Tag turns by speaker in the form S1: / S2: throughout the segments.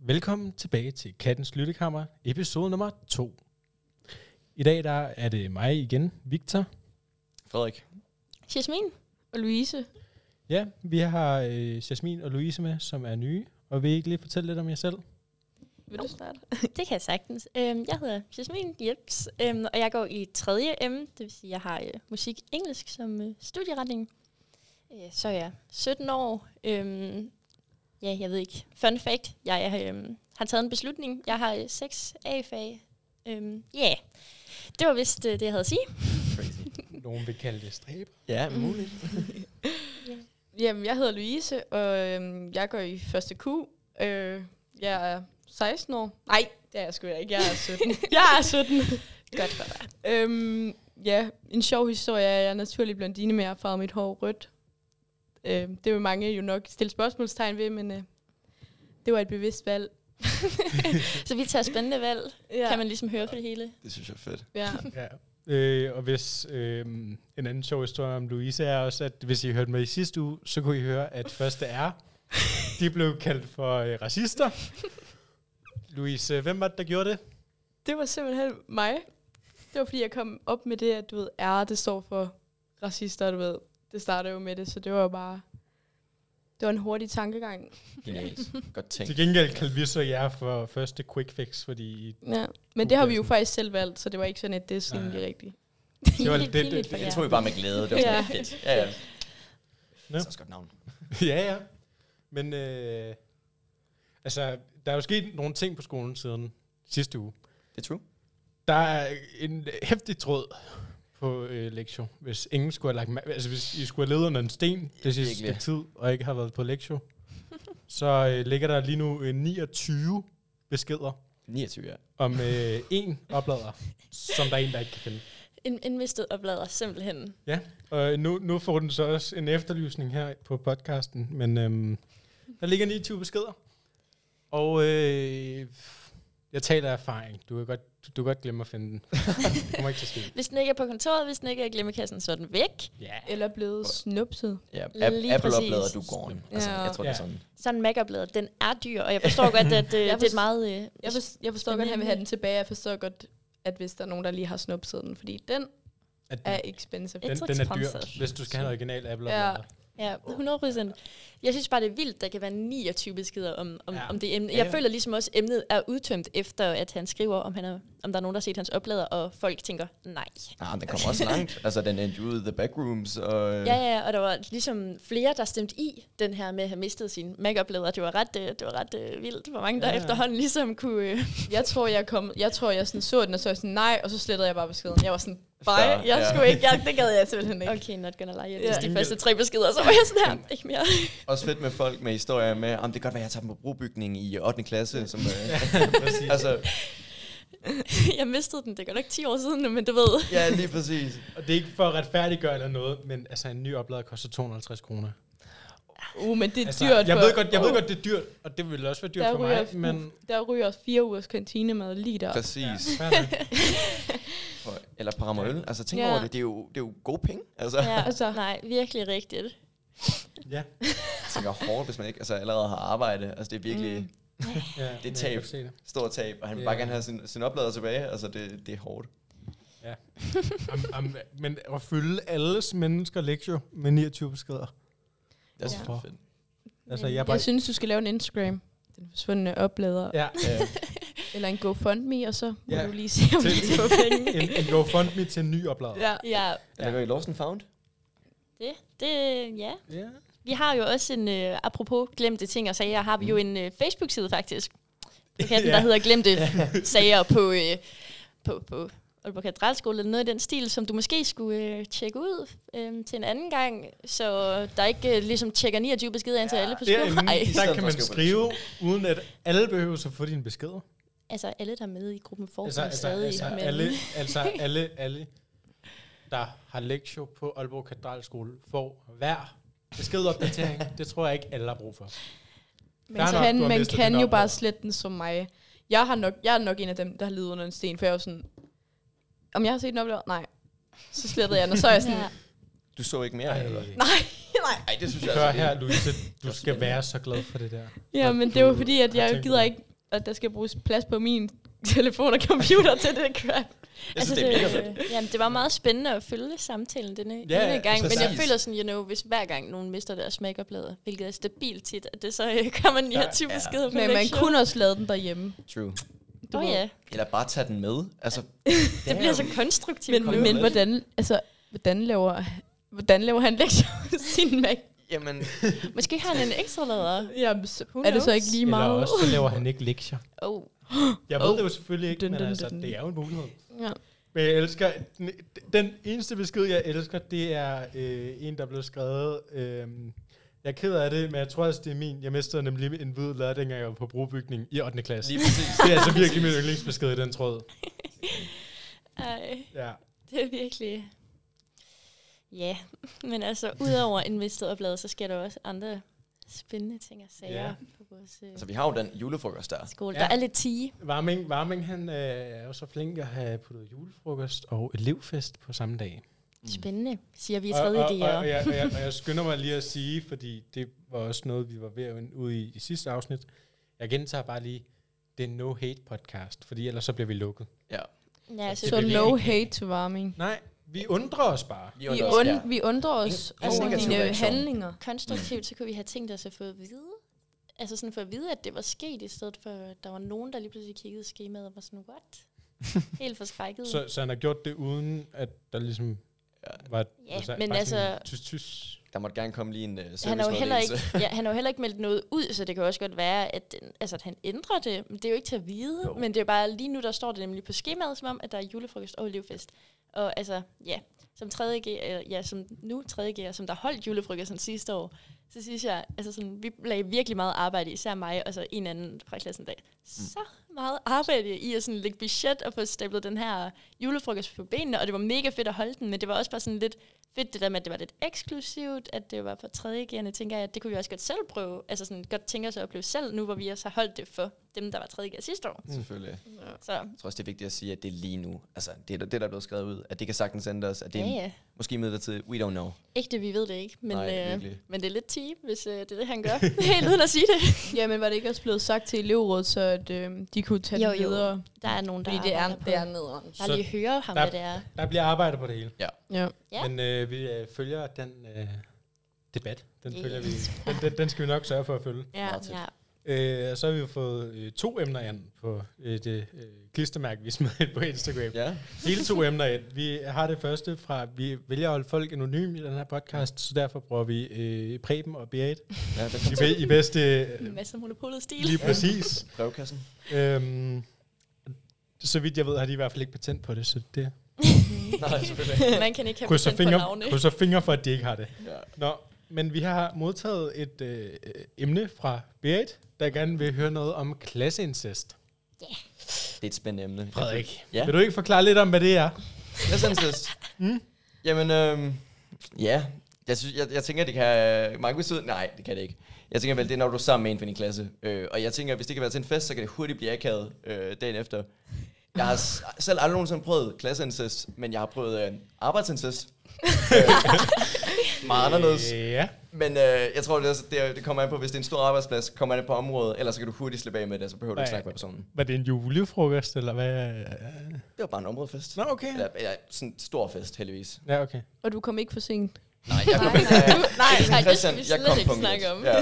S1: Velkommen tilbage til Kattens Lyttekammer, episode nummer 2. I dag der er det mig igen, Victor.
S2: Frederik.
S3: Jasmin og Louise.
S1: Ja, vi har øh, Jasmin og Louise med, som er nye. Og vil I ikke lige fortælle lidt om jer selv?
S3: Vil du starte? Det kan jeg sagtens. Øhm, jeg hedder Jasmin Jeps, øhm, og jeg går i 3. M, det vil sige, jeg har øh, musik engelsk som øh, studieretning. Øh, så er jeg 17 år. Øhm, ja, jeg ved ikke. Fun fact, jeg, jeg øhm, har taget en beslutning. Jeg har øh, 6 A-fag. Ja, øhm, yeah. det var vist øh, det, jeg havde at sige.
S2: Crazy.
S1: Nogen vil kalde det stræber.
S2: Ja, muligt.
S4: Jamen, jeg hedder Louise, og øhm, jeg går i første Q. Øh, jeg er 16 år. Nej, det er jeg sgu da ikke. Jeg er 17. jeg er 17.
S3: Godt for dig.
S4: øhm, ja, en sjov historie er, at jeg er naturlig blondine, men jeg har farvet mit hår rødt. Øh, det vil mange jo nok stille spørgsmålstegn ved, men øh, det var et bevidst valg.
S3: Så vi tager spændende valg,
S4: Ja.
S3: ja. kan man ligesom høre for det hele.
S2: Det synes jeg er fedt.
S4: ja.
S1: Ja. Øh, og hvis øh, en anden sjov historie om Louise er også, at hvis I hørte med i sidste uge, så kunne I høre, at første R, de blev kaldt for øh, racister. Louise, hvem var det, der gjorde det?
S4: Det var simpelthen mig. Det var, fordi jeg kom op med det, at du ved, R, det står for racister, du ved. Det starter jo med det, så det var jo bare... Det var en hurtig tankegang.
S2: Genialt. Godt tænkt.
S1: Til gengæld kaldte vi så jer for første quick fix, fordi I
S4: Ja, men det har vi jo
S1: Upassende.
S4: faktisk selv valgt, så det var ikke sådan et diss
S1: Nej.
S4: egentlig rigtigt.
S1: Det var
S3: Pinligt,
S1: det-
S3: pinligt
S1: det-
S3: for
S2: Jeg
S3: jer.
S2: tog jo bare med glæde. Det var sådan
S4: Ja.
S2: lidt fedt. Ja, ja.
S1: Nå.
S2: Det er også godt navn.
S1: ja, ja. Men øh, altså, der er jo sket nogle ting på skolen siden sidste uge.
S2: Det er true.
S1: Der er en hæftig tråd på øh, lektio, hvis ingen skulle have lagt mær- altså hvis I skulle have levet under en sten det sidste stykke
S2: Virkelig.
S1: tid, og ikke har været på lektio, så øh, ligger der lige nu øh, 29 beskeder
S2: 29, ja.
S1: om øh, en oplader, som der er en, der ikke kan finde.
S3: En, en mistet oplader, simpelthen.
S1: Og Øh, nu, nu får den så også en efterlysning her på podcasten, men øhm, der ligger 29 beskeder. Og øh, jeg taler af erfaring. Du kan godt, du, du kan godt glemme at finde den. Det kommer ikke til at ske.
S3: Hvis den ikke er på kontoret, hvis den ikke er i glemmekassen, så er den væk.
S1: Ja.
S4: Eller blevet snupset.
S2: ja.
S3: Lige
S2: Apple
S3: præcis.
S2: oplader, du går den. Altså,
S4: Ja.
S2: jeg tror, det er
S1: Ja.
S2: sådan.
S3: Så en mac oplader den er dyr, og jeg forstår godt, at øh,
S4: Jeg
S3: det er et
S4: forst-
S3: meget... Øh,
S4: Jeg, for, jeg forstår godt, at han vil have den tilbage. Jeg forstår godt, at hvis der er nogen, der lige har snupset den, fordi den
S1: At
S4: er
S1: den,
S4: expensive.
S3: It's
S1: den, den er dyr,
S3: expensive.
S1: hvis du skal have en original Apple.
S4: Ja.
S1: Ja.
S3: ja, 100 Jeg synes bare, det er vildt, der kan være 29 beskeder om, om,
S1: Ja.
S3: ja. om det emne.
S1: Ja,
S3: Jeg
S1: ja.
S3: føler ligesom også, at emnet er udtømt efter, at han skriver, om, han er, om der er nogen, der har set hans oplader, og folk tænker, nej.
S2: Ah, men den kommer også langt. Altså, den endte ude i the backrooms. Og, øh,
S3: Ja, ja, og der var ligesom flere, der stemte i den her med at have mistet sin mac oplader Det var ret, øh, det var ret øh, vildt, hvor mange der
S1: Ja, ja.
S3: efterhånden ligesom kunne... Øh,
S4: Jeg tror, jeg, kom, jeg tror, jeg sådan så den, og så var jeg sådan, nej, og så slettede jeg bare beskeden. Jeg var sådan, nej,
S2: Fair,
S4: jeg
S2: ja.
S4: skulle ikke, jeg, det gad jeg simpelthen ikke.
S3: okay, not gonna lie, jeg
S4: Ja.
S3: ja. de første tre beskeder, så var jeg sådan her, ikke mere.
S2: Også fedt med folk med historier med, om det kan godt være, at jeg tager dem på brugbygningen i 8. klasse. Som, øh,
S1: præcis.
S2: altså,
S3: jeg mistede den, det er godt nok 10 år siden nu, men du ved.
S2: ja, lige præcis.
S1: Og det er ikke for at retfærdiggøre eller noget, men altså en ny oplader koster 250 kroner.
S4: Uh, men det er
S1: Altså,
S4: dyrt.
S1: jeg,
S4: for-
S1: ved godt, jeg ved
S4: Uh,
S1: godt, det er dyrt, og det vil også være dyrt
S4: der
S1: for
S4: ryger,
S1: mig, men...
S4: der ryger fire ugers kantinemad lige der.
S2: Præcis. Ja.
S1: fair nok.
S2: Eller paramøl. Altså, tænk
S4: Ja.
S2: over det. Det er, jo, det er jo gode penge. Altså,
S3: Ja,
S4: Altså.
S3: altså. Nej, virkelig rigtigt.
S1: ja,
S2: jeg tænker hårdt, hvis man ikke altså, allerede har arbejde. Altså, det er virkelig...
S3: Mm.
S1: ja, jeg kan
S2: tab.
S1: godt se det.
S2: stort tab, og han vil
S1: Ja.
S2: bare gerne have sin, sin oplader tilbage. Altså, det, det er hårdt.
S1: Am, am, men at fylde alles mennesker lektio med 29 beskeder.
S2: Jeg synes,
S1: Ja.
S2: det er fedt.
S1: Altså,
S3: Men
S1: jeg er bare...
S4: Jeg synes, du skal lave en Instagram. Den forsvundne oplader.
S1: Ja,
S2: Ja.
S4: Eller en GoFundMe, og så må
S1: Ja.
S4: du lige se, om
S1: Til-
S4: vi kan få penge.
S1: en, en GoFundMe til en ny oplader.
S4: Ja.
S3: Ja,
S2: Eller går I Lost and Found?
S3: det, det, ja.
S1: ja.
S3: Vi har jo også en, øh, apropos glemte ting og sager, har vi jo en øh, Facebook-side faktisk. På katten,
S1: Mm. Ja.
S3: ja. der hedder glemte sager på, øh, på, på Aalborg Katedralskole, eller noget i den stil, som du måske skulle øh, tjekke ud øh, til en anden gang, så der ikke øh, ligesom tjekker 29 beskeder ind til alle på
S1: Derinde,
S3: skolen. Ej,
S1: der
S2: stedet
S1: kan
S2: for
S1: man
S2: at skrive på
S1: skrive, uden at alle behøver at få dine beskeder.
S3: altså alle, der er med i gruppen, får
S1: Altså,
S3: altså,
S1: altså,
S3: stadig.
S1: altså,
S3: men-
S1: alle, altså alle, alle, der har lektio på Aalborg Katedralskole, får hver beskedopdatering. det tror jeg ikke, alle har brug for.
S4: Man
S1: Fair nok,
S4: kan,
S1: du har
S4: man
S1: mistet
S4: kan
S1: din
S4: jo
S1: oplader.
S4: bare slette den som mig. Jeg, har nok, jeg er nok en af dem, der har levet under en sten, for jeg var sådan, om jeg har set en oplader? Nej. Så slettede jeg den, og så er jeg sådan,
S3: Ja.
S2: Du så ikke mere,
S1: Ej,
S2: eller?
S4: nej, nej.
S2: Nej, det synes jeg
S1: Hør
S2: altså, det-
S1: her, Louise, du skal være så glad for det der.
S4: Ja, men det var fordi, at
S1: Har
S4: jeg
S1: tænkt
S4: gider
S1: på det.
S4: ikke og der skal bruges plads på min telefon og computer til det crap.
S2: Jeg synes, det er mega fedt.
S3: øh, jamen, det var meget spændende at følge samtalen denne
S1: Ja,
S3: ja, ene gang, men jeg
S1: præcis.
S3: føler sådan, you know, hvis hver gang nogen mister deres makeup-lader, hvilket er stabilt tit, at det så øh, kommer en her
S2: Der
S3: type
S2: er-
S3: beskeder på
S4: Men man kunne også lade den derhjemme.
S2: True.
S3: Åh oh, ja,
S2: Eller bare tage den med. Altså,
S3: det bliver så konstruktivt.
S4: Men,
S2: Kom
S4: men
S2: med.
S4: hvordan, altså, hvordan laver hvordan laver han lektier på sin Mac?
S2: jamen,
S3: Måske har han en ekstra lader.
S4: Jamen, så- er det så ikke lige
S1: Eller
S4: meget?
S1: også, så laver han ikke lektier.
S3: Oh.
S1: Jeg ved det jo selvfølgelig ikke,
S4: Dun,
S1: men
S4: dun,
S1: altså,
S4: dun.
S1: det er jo en mulighed.
S4: Ja.
S1: Men jeg elsker, den, den eneste besked, jeg elsker, det er øh, en, der blev skrevet. Øh, jeg er ked af det, men jeg tror også, det er min. Jeg mistede nemlig en hvid lærer, dengang jeg var på brugbygning i 8. klasse.
S2: lige præcis.
S1: Det er altså virkelig min yndlingsbesked i den tråd.
S3: Ej,
S1: Ja.
S3: det er virkelig... Ja, men altså, udover en mistet oplade, så sker der også andre spændende ting og sager
S1: Ja.
S3: på vores øh,
S2: Altså, vi har jo den julefrokost der.
S3: skole.
S1: Ja.
S3: Ja. Der er lidt tige.
S1: Varming, Varming han øh, er jo så flink at have puttet julefrokost og elevfest på samme dag.
S3: Mm.
S2: Mm.
S3: Spændende, siger vi i
S1: Og, og,
S3: 3.
S1: og,
S3: G'er.
S1: og, jeg, og, jeg, og jeg skynder mig lige at sige, fordi det var også noget, vi var ved at være ude i i sidste afsnit. Jeg gentager bare lige, det er en no-hate-podcast, fordi ellers så bliver vi lukket.
S3: Ja, jeg synes,
S4: Så
S1: Det bliver
S4: no
S1: ikke-
S4: hate to warming.
S1: Nej, vi undrer os bare.
S2: Vi
S4: Vi,
S2: undrer os, ja.
S4: und, vi undrer os
S2: Ingen-
S4: over
S3: ingen negativ
S4: dine
S2: reaktion.
S4: handlinger.
S3: konstruktivt, så kunne vi have tænkt os at få at vide, altså sådan for at vide, at det var sket, i stedet for, at der var nogen, der lige pludselig kiggede i skemaet og var sådan, what? Helt forskrækket.
S1: Så, så han har gjort det uden, at der ligesom
S2: Ja.
S1: var...
S3: ja, men
S1: bare
S3: altså,
S1: sådan Tys, tys.
S2: Der måtte gerne komme lige en uh,
S3: han har, jo heller ikke,
S2: servicemeddelelse.
S3: ja, han har jo heller ikke meldt noget ud, så det kan jo også godt være, at, den, altså, at han ændrer det. Men det er jo ikke til at vide,
S2: Jo.
S3: jo. men det er jo bare lige nu, der står det nemlig på skemaet, som om, at der er julefrokost og elevfest. Og altså, ja, som 3. G, øh, ja, som nu 3. G'er, som der holdt julefrokosten sidste år, så synes jeg, altså sådan, vi lagde virkelig meget arbejde, især mig og så en anden fra klassen i dag.
S2: Mm.
S3: Så meget arbejde i at sådan lægge budget og få stablet den her julefrokost på benene, og det var mega fedt at holde den, men det var også bare sådan lidt fedt det der med, at det var lidt eksklusivt, at det var for 3. G'erne, tænker jeg, at det kunne vi også godt selv prøve, altså sådan godt tænke os at opleve selv, nu hvor vi også har holdt det for dem, der var 3. G'er sidste
S1: Mm.
S3: år.
S2: Selvfølgelig.
S3: Så
S2: Jeg tror også, det er vigtigt at sige, at det er lige nu. Altså, det er det, der er blevet skrevet ud. At det kan sagtens ændres. At det
S3: ja,
S2: er
S3: ja.
S2: måske midlertidigt. We don't know.
S3: Ikke det, vi ved det ikke, men,
S2: Nej,
S3: øh,
S2: virkelig.
S3: men det er lidt tige, hvis øh, det er det, han gør. Helt uden at sige det.
S4: Jamen, var det ikke også blevet sagt til elevrådet, så at, øh, de kunne tage
S3: Jo,
S4: det
S3: jo.
S4: videre?
S3: Der er nogen, der
S4: Fordi det er,
S3: arbejder på
S4: det er nederen.
S3: Bare lige høre ham,
S1: der-
S3: hvad det er.
S1: Der bliver arbejdet på det hele.
S4: Ja.
S3: Ja.
S1: Men øh, vi øh, følger den øh, debat. Den,
S3: Yes.
S1: følger vi. Den, den, den skal vi nok sørge for at følge.
S4: Ja.
S2: Meget tæt.
S3: Ja.
S1: Øh, og så har vi jo fået øh, to emner ind på øh, det øh, klistermærke, vi smed ind på Instagram.
S2: Ja.
S1: Hele to emner ind. Vi har det første fra, vi vælger at holde folk anonyme i den her podcast, så derfor bruger vi øh, Preben og Beat.
S2: ja det
S1: I,
S2: er
S1: be, i bedste øh,
S3: Masser af monopolet stil.
S1: lige præcis.
S2: brevkassen.
S1: øhm, så vidt jeg ved, har de i hvert fald ikke patent på det, så det
S2: Nej, selvfølgelig.
S3: Man kan ikke have
S1: krydser
S3: patent på
S1: fingre,
S3: navne.
S1: krydser fingre for, at de ikke har det.
S2: Ja.
S1: Nå, men vi har modtaget et øh, øh, emne fra Berit, der gerne vil høre noget om klasseincest.
S2: Det er et spændende emne.
S1: Frederik, ja.
S2: Ja.
S1: vil du ikke forklare lidt om, hvad det er?
S2: Klasseincest.
S1: Hmm?
S2: Jamen, øhm, ja. Jeg, synes, jeg, jeg tænker, det kan mange betyde... Nej, det kan det ikke. Jeg tænker vel, det er, når du er sammen med en fra din klasse. Øh, og jeg tænker, hvis det kan være til en fest, så kan det hurtigt blive akavet øh, dagen efter. Jeg har s- selv aldrig nogensinde prøvet klasseincest, men jeg har prøvet øh, arbejdsincest. øh, meget anderledes.
S1: Ja.
S2: Men øh, jeg tror, det, er, også- det, er- det kommer an på, hvis det er en stor arbejdsplads, kommer an på området, ellers så kan du hurtigt slippe af med det, så behøver du ikke
S1: Ja, ja.
S2: snakke med personen.
S1: Var det en julefrokost, eller hvad?
S2: Det var bare en områdefest.
S1: Nå, okay.
S2: Eller, eller sådan en stor fest, heldigvis.
S1: Ja, okay.
S4: Og du kom ikke for sent.
S2: Nej, jeg kom
S3: Nej,
S2: ikke.
S3: nej. Nej,
S2: ikke som
S3: nej, det skal
S2: Christian,
S3: vi
S2: jeg
S3: slet
S2: kom
S3: ikke
S2: punkt
S3: snakke
S2: et.
S3: om.
S2: Ja,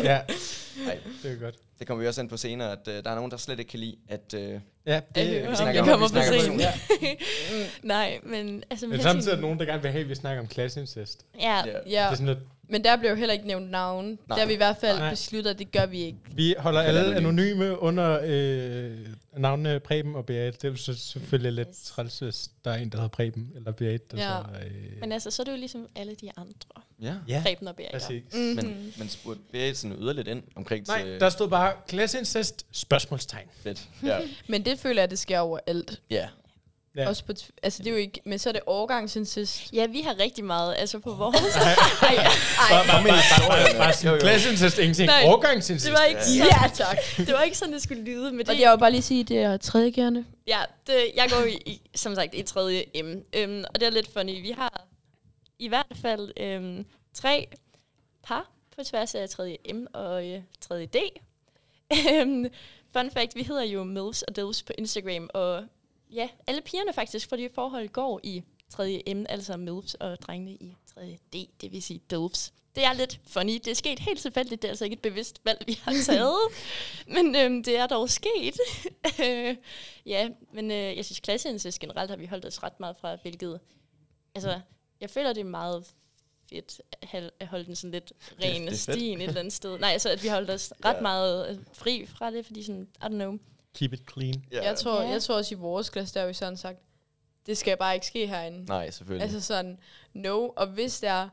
S1: Ja,
S2: nej,
S1: det er godt.
S2: det kommer vi også ind på senere, at øh, der er nogen, der slet ikke kan lide, at... Øh,
S1: Ja,
S3: At høre
S1: det,
S3: om
S1: vi snakker
S2: snakker
S3: det
S2: om-
S1: om.
S2: vi
S3: kommer for
S2: snakker om
S3: sent.
S2: det.
S3: Nej, men altså...
S1: Men
S3: jeg
S1: samtidig er der
S3: tænker-
S1: nogen, der gerne vil have, at vi snakker om klasseincest. Ja.
S3: Ja,
S1: Det
S4: Ja,
S1: er sådan lidt,
S4: men der blev jo heller ikke nævnt navn. Der har vi i hvert fald
S1: Nej.
S4: besluttet, at det gør vi ikke.
S1: vi holder
S2: Kan
S1: alle
S2: være
S1: anonyme under øh, navnene Preben og Beat. Det er jo så selvfølgelig lidt
S3: Yes.
S1: træls, hvis der er en, der hedder Preben eller Beat. Der
S4: Ja.
S1: så, øh,
S3: men altså, så er det jo ligesom alle de andre.
S2: ja,
S1: ja,
S3: Preben og Bjerg.
S1: præcis.
S2: men, men spurgte Berit sådan yderligt ind omkring
S1: Nej,
S2: til øh,
S1: der stod bare klasseincest, spørgsmålstegn.
S2: fedt. Ja,
S4: Men det føler jeg, at det sker overalt.
S2: ja.
S1: Ja.
S4: Ja. Også på tv- altså, det er jo ikke, men så er det overgangsinsist.
S3: Ja, vi har rigtig meget altså på vores. Ej,
S1: Bare, bare, bare, bare, bare, bare
S2: Jo,
S1: sådan,
S2: jo.
S1: klasseincest, ingenting.
S3: Nej,
S1: Årgangsincest.
S3: det var ikke
S4: Ja,
S3: sådan,
S4: tak.
S3: det var ikke sådan, det skulle lyde, men det,
S4: Og det er jo bare lige at sige, at det er tredjegærende.
S3: Ja, det, jeg går i, i, som sagt i tredje M. Øhm, og det er lidt funny. Vi har i hvert fald øhm, tre par på tværs af tredje M og øh, tredje D. Øhm, Fun fact, vi hedder jo Mills og Dills på Instagram, og ja, alle pigerne faktisk, for de forhold går i 3. M, altså Mills, og drengene i 3. D, det vil sige Dills. Det er lidt funny. Det er sket helt tilfældigt. Det er altså ikke et bevidst valg, vi har taget. men øhm, det er dog sket. Øh, ja, men øh, jeg synes, klasseindsats generelt har vi holdt os ret meget fra, hvilket... Altså, jeg føler, det er meget fedt at hal- at holde den sådan lidt ren
S2: det er
S3: og
S2: fedt.
S3: stien et eller andet sted. Nej, altså, at vi holdt os ret
S2: Ja.
S3: meget øh, fri fra det, fordi sådan, I don't know.
S1: Keep it clean.
S2: Ja.
S4: Jeg, tror,
S3: Ja.
S4: jeg tror også i vores klasse, der har vi sådan sagt, det skal bare ikke ske herinde.
S2: Nej, selvfølgelig.
S4: Altså sådan, no. Og hvis det er,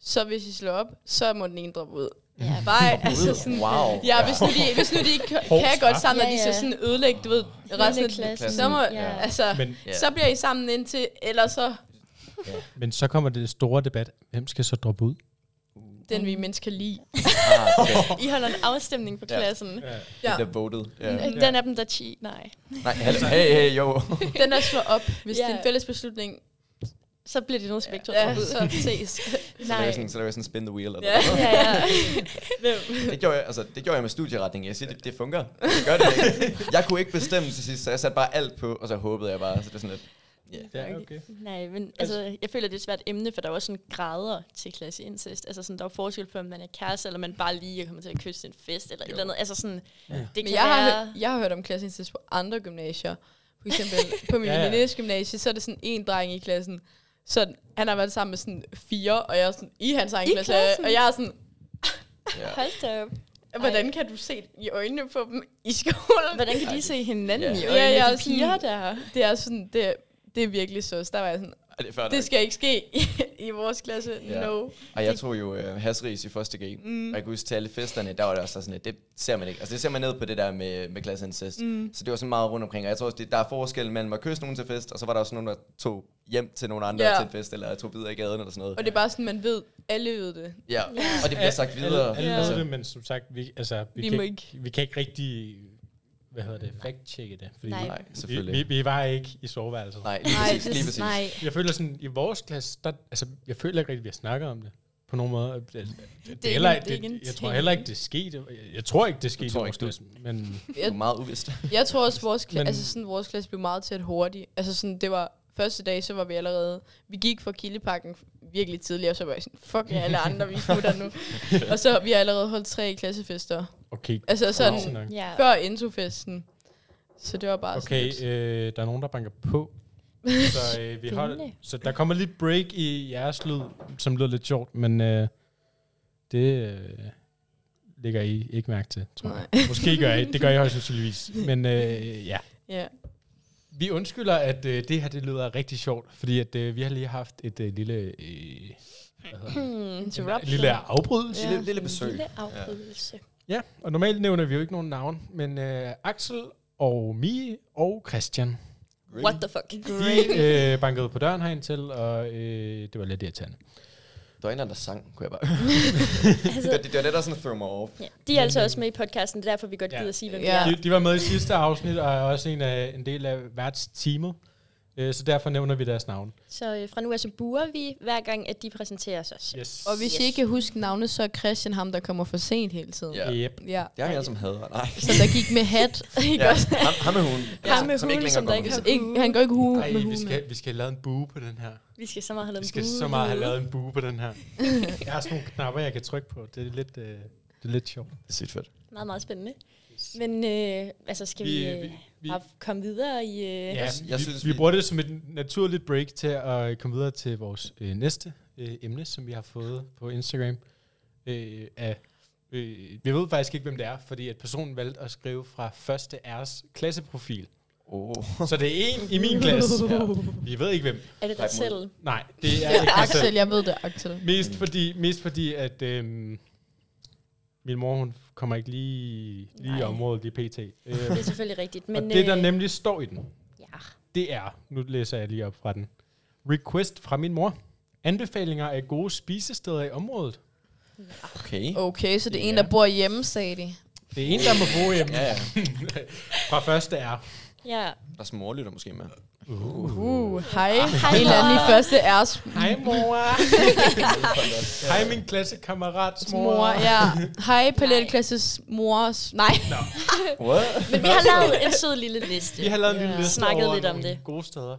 S4: så hvis I slår op, så må den ene droppe ud.
S3: Ja,
S4: Bare,
S2: Ude.
S4: altså sådan,
S2: wow.
S4: Ja, hvis nu de, hvis nu de ikke kan- kan
S1: straf.
S4: godt sammen, og
S3: Ja,
S4: de
S3: ja.
S4: så sådan ødelægge, du ved, resten af
S3: klassen.
S4: Så må,
S3: Ja.
S4: ja. altså,
S1: Men,
S2: Ja.
S4: så bliver I sammen indtil, eller så
S1: men så kommer det store debat. Hvem skal så droppe ud?
S4: den, vi mindst kan lide.
S2: Ah, okay.
S3: I holder en afstemning på
S2: Ja.
S3: klassen.
S1: Ja.
S4: Ja.
S2: Der voted. Ja.
S3: Den af dem, der chi. Nej.
S2: Nej, hallo. hey, hey, jo.
S4: Den, der slår op, hvis
S3: Ja.
S4: det er en fælles beslutning,
S3: Så bliver de noget spektrum.
S4: ja, så ses.
S2: Så laver jeg
S3: Nej.
S2: sådan, så laver jeg sådan spin the wheel. Eller
S4: Ja.
S3: Ja, ja.
S2: Det gjorde jeg, altså, det gjorde jeg med studieretning. Jeg siger, det, det fungerer. Det gør det ikke. Jeg kunne ikke bestemme til sidst, så jeg satte bare alt på, og så håbede jeg bare. Så det er sådan lidt,
S1: Ja, okay.
S3: Nej, men altså, jeg føler, det er et svært emne, for der er jo også sådan grader til klasseincest. Altså sådan, der er jo forskel på, om man er kæreste, eller man bare lige er kommet til at kysse til en fest, eller jo. et eller andet. Altså sådan, ja. det kan
S4: Men jeg har,
S3: være...
S4: hørt, jeg har hørt om klasseindsats på andre gymnasier. For eksempel på min
S1: Ja, ja.
S4: ja, ja. gymnasie, så er det sådan en dreng i klassen. Så han har været sammen med sådan fire, og jeg er sådan i hans egen
S3: I
S4: klasse.
S3: klassen?
S4: Og jeg er sådan,
S2: ja.
S3: Hold da op.
S4: hvordan kan du se i øjnene på dem i skolen?
S3: Hvordan kan de se hinanden
S2: Ja.
S3: i
S4: Ja,
S3: øjnene, ja,
S4: jeg
S3: ja,
S4: er
S3: de
S4: sådan-
S3: piger der?
S4: Det er sådan, det, det er virkelig søs. Der var jeg sådan,
S2: Ej, det er fair nok.
S4: det skal ikke ske i, i vores klasse.
S2: Ja.
S4: Ja. No.
S2: Og jeg tog jo øh, hasris i første G, mm. og jeg kunne huske til alle festerne, der var det også sådan lidt, det ser man ikke. Altså det ser man ned på det der med, med klasseincest. Mm. Så det var sådan meget rundt omkring, og jeg tror også, det, der er forskel mellem at kysse nogen til fest, og så var der også nogen, der tog hjem til nogle andre
S4: Ja.
S2: til en fest, eller tog videre i gaden eller sådan noget.
S4: Og det er bare sådan, man ved, alle ved det.
S2: Ja, og det bliver sagt videre.
S1: Alle, alle
S4: Ja.
S1: ved det, men som sagt, vi, altså, vi,
S4: Vi
S1: kan,
S4: må
S1: ikke, vi kan ikke rigtig, hvad hedder det, fact-checke det. Fordi
S3: Nej.
S2: Nej,
S1: Vi,
S2: selvfølgelig.
S1: vi, vi var ikke i soveværelset.
S2: Nej, lige præcis. lige præcis.
S3: nej.
S1: Jeg føler sådan, i vores klasse, der, altså, jeg føler ikke rigtig, vi har snakket om det. På nogen måde. Altså, Det, det, det,
S3: er
S1: det, heller,
S3: ikke-
S1: ikke-
S3: det er ikke
S1: det,
S3: en
S1: jeg tror
S3: ting.
S1: heller ikke, det skete. Jeg, jeg tror ikke, det skete i
S2: tror
S1: vores
S2: ikke, du-
S1: klasse. Men
S2: Det er meget uvist.
S4: Jeg tror også, vores, kla-
S1: Men-
S4: altså sådan, vores klasse blev meget tæt hurtigt. Altså sådan, det var første dag, så var vi allerede... Vi gik fra kildepakken virkelig tidligt, og så var jeg sådan, fuck jer alle andre, vi smutter nu. og så vi har allerede holdt tre klassefester.
S1: okay,
S4: Altså sådan,
S1: Wow.
S4: wow.
S3: Ja.
S4: før introfesten. Så det var bare
S1: okay
S4: sådan lidt-
S1: øh, der er nogen, der banker på. Så, øh, vi holder,
S3: Spændende.
S1: så der kommer lidt break i jeres lyd, som lyder lidt sjovt, men øh, det øh, lægger I ikke mærke til, tror jeg. Måske gør I, det gør I højst sandsynligvis. Men øh, ja,
S4: Ja.
S1: Vi undskylder, at øh, det her det lyder rigtig sjovt, fordi at, øh, vi har lige haft et øh, lille, øh, hvad hedder det? en
S4: Interruption.
S1: lille afbrydelse.
S2: Lille, lille besøg.
S3: Lille afbrydelse.
S1: Ja, og normalt nævner vi jo ikke nogen navn, men øh, Axel og Mie og Christian,
S3: What the fuck?
S1: de øh, bankede på døren herind til, og øh, det var lidt irriterende.
S2: Der var en eller anden, der sang, kunne jeg bare. det, var- det var det, der sådan threw mig off.
S3: Altså- Ja. De er altså også med i podcasten, det er derfor, vi godt
S1: Ja.
S3: gider at sige, hvem vi
S4: Ja.
S3: er.
S1: De, de var med i sidste afsnit, og er også en, af, en del af værtsteamet, øh, så derfor nævner vi deres navn.
S3: Så øh, fra nu af, så buer vi hver gang, at de præsenterer os.
S1: Yes.
S4: Og hvis yes. I ikke kan huske navnet, så er Christian ham, der kommer for sent hele tiden.
S2: Ja.
S1: Yep.
S4: ja.
S2: Det har vi alle som havde. Nej.
S4: Så der gik med hat. Ikke
S2: Ja,
S4: også?
S2: ham, ham med hunden.
S3: Ham med
S2: som
S3: hunden,
S2: ikke
S3: som
S2: længere
S3: der ikke
S2: går.
S3: har-
S4: Ikke, han går ikke hue
S1: Ej,
S4: med
S1: vi
S4: hue
S1: skal, vi skal have lavet en bue på den her.
S3: Vi skal så meget have
S1: Jeg
S3: lavet
S1: skal
S3: en
S1: så meget have lavet en bue på den her. Jeg har sådan nogle knapper, jeg kan trykke på. Det er lidt, øh, det er lidt sjovt.
S2: Det er sygt fedt.
S3: Meget, meget spændende. Men øh, altså, skal vi, vi, vi, vi bare komme videre i... Øh,
S1: ja,
S2: Altså, jeg
S1: vi,
S2: synes,
S1: vi,
S2: vi-
S1: vi bruger det som et naturligt break til at øh, komme videre til vores øh, næste øh, emne, som vi har fået på Instagram. Øh, af, øh, vi ved faktisk ikke, hvem det er, fordi at personen valgte at skrive fra første R's klasseprofil.
S2: Oh.
S1: Så det er en i min klasse.
S2: Ja.
S1: Vi ved ikke, hvem.
S3: Er det
S2: Ræk
S3: dig
S2: mod.
S3: selv?
S1: Nej, det er
S4: Ja,
S1: ikke mig selv.
S4: Axel, jeg ved det, Axel.
S1: Mest fordi, mest fordi at øhm, min mor, hun kommer ikke lige, lige i
S3: Nej.
S1: området, lige pt. Øhm,
S3: Det er selvfølgelig rigtigt. Men,
S1: og det, der
S3: øh,
S1: nemlig står i den,
S3: Ja.
S1: det er, nu læser jeg lige op fra den, request fra min mor. Anbefalinger af gode spisesteder i området.
S2: Okay.
S4: Okay, så det er en,
S1: Ja.
S4: der bor hjemme, sagde de.
S1: Det er en, der må bo hjemme
S2: Ja, ja.
S1: fra første er.
S3: ja.
S2: Der er små lytter måske med.
S4: Uh, hej.
S3: Ah, hej,
S4: En eller anden i
S3: mor.
S4: første ærs
S1: Hej mor. Hej min klassekammerats mor.
S4: mor. Ja. Hej, paletteklasses mors. Nej.
S2: What?
S3: Men vi har lavet en sød lille liste.
S1: Vi har lavet en
S4: Ja.
S1: lille liste
S3: Snakket
S1: over
S3: lidt om
S1: nogle
S3: det.
S1: gode steder.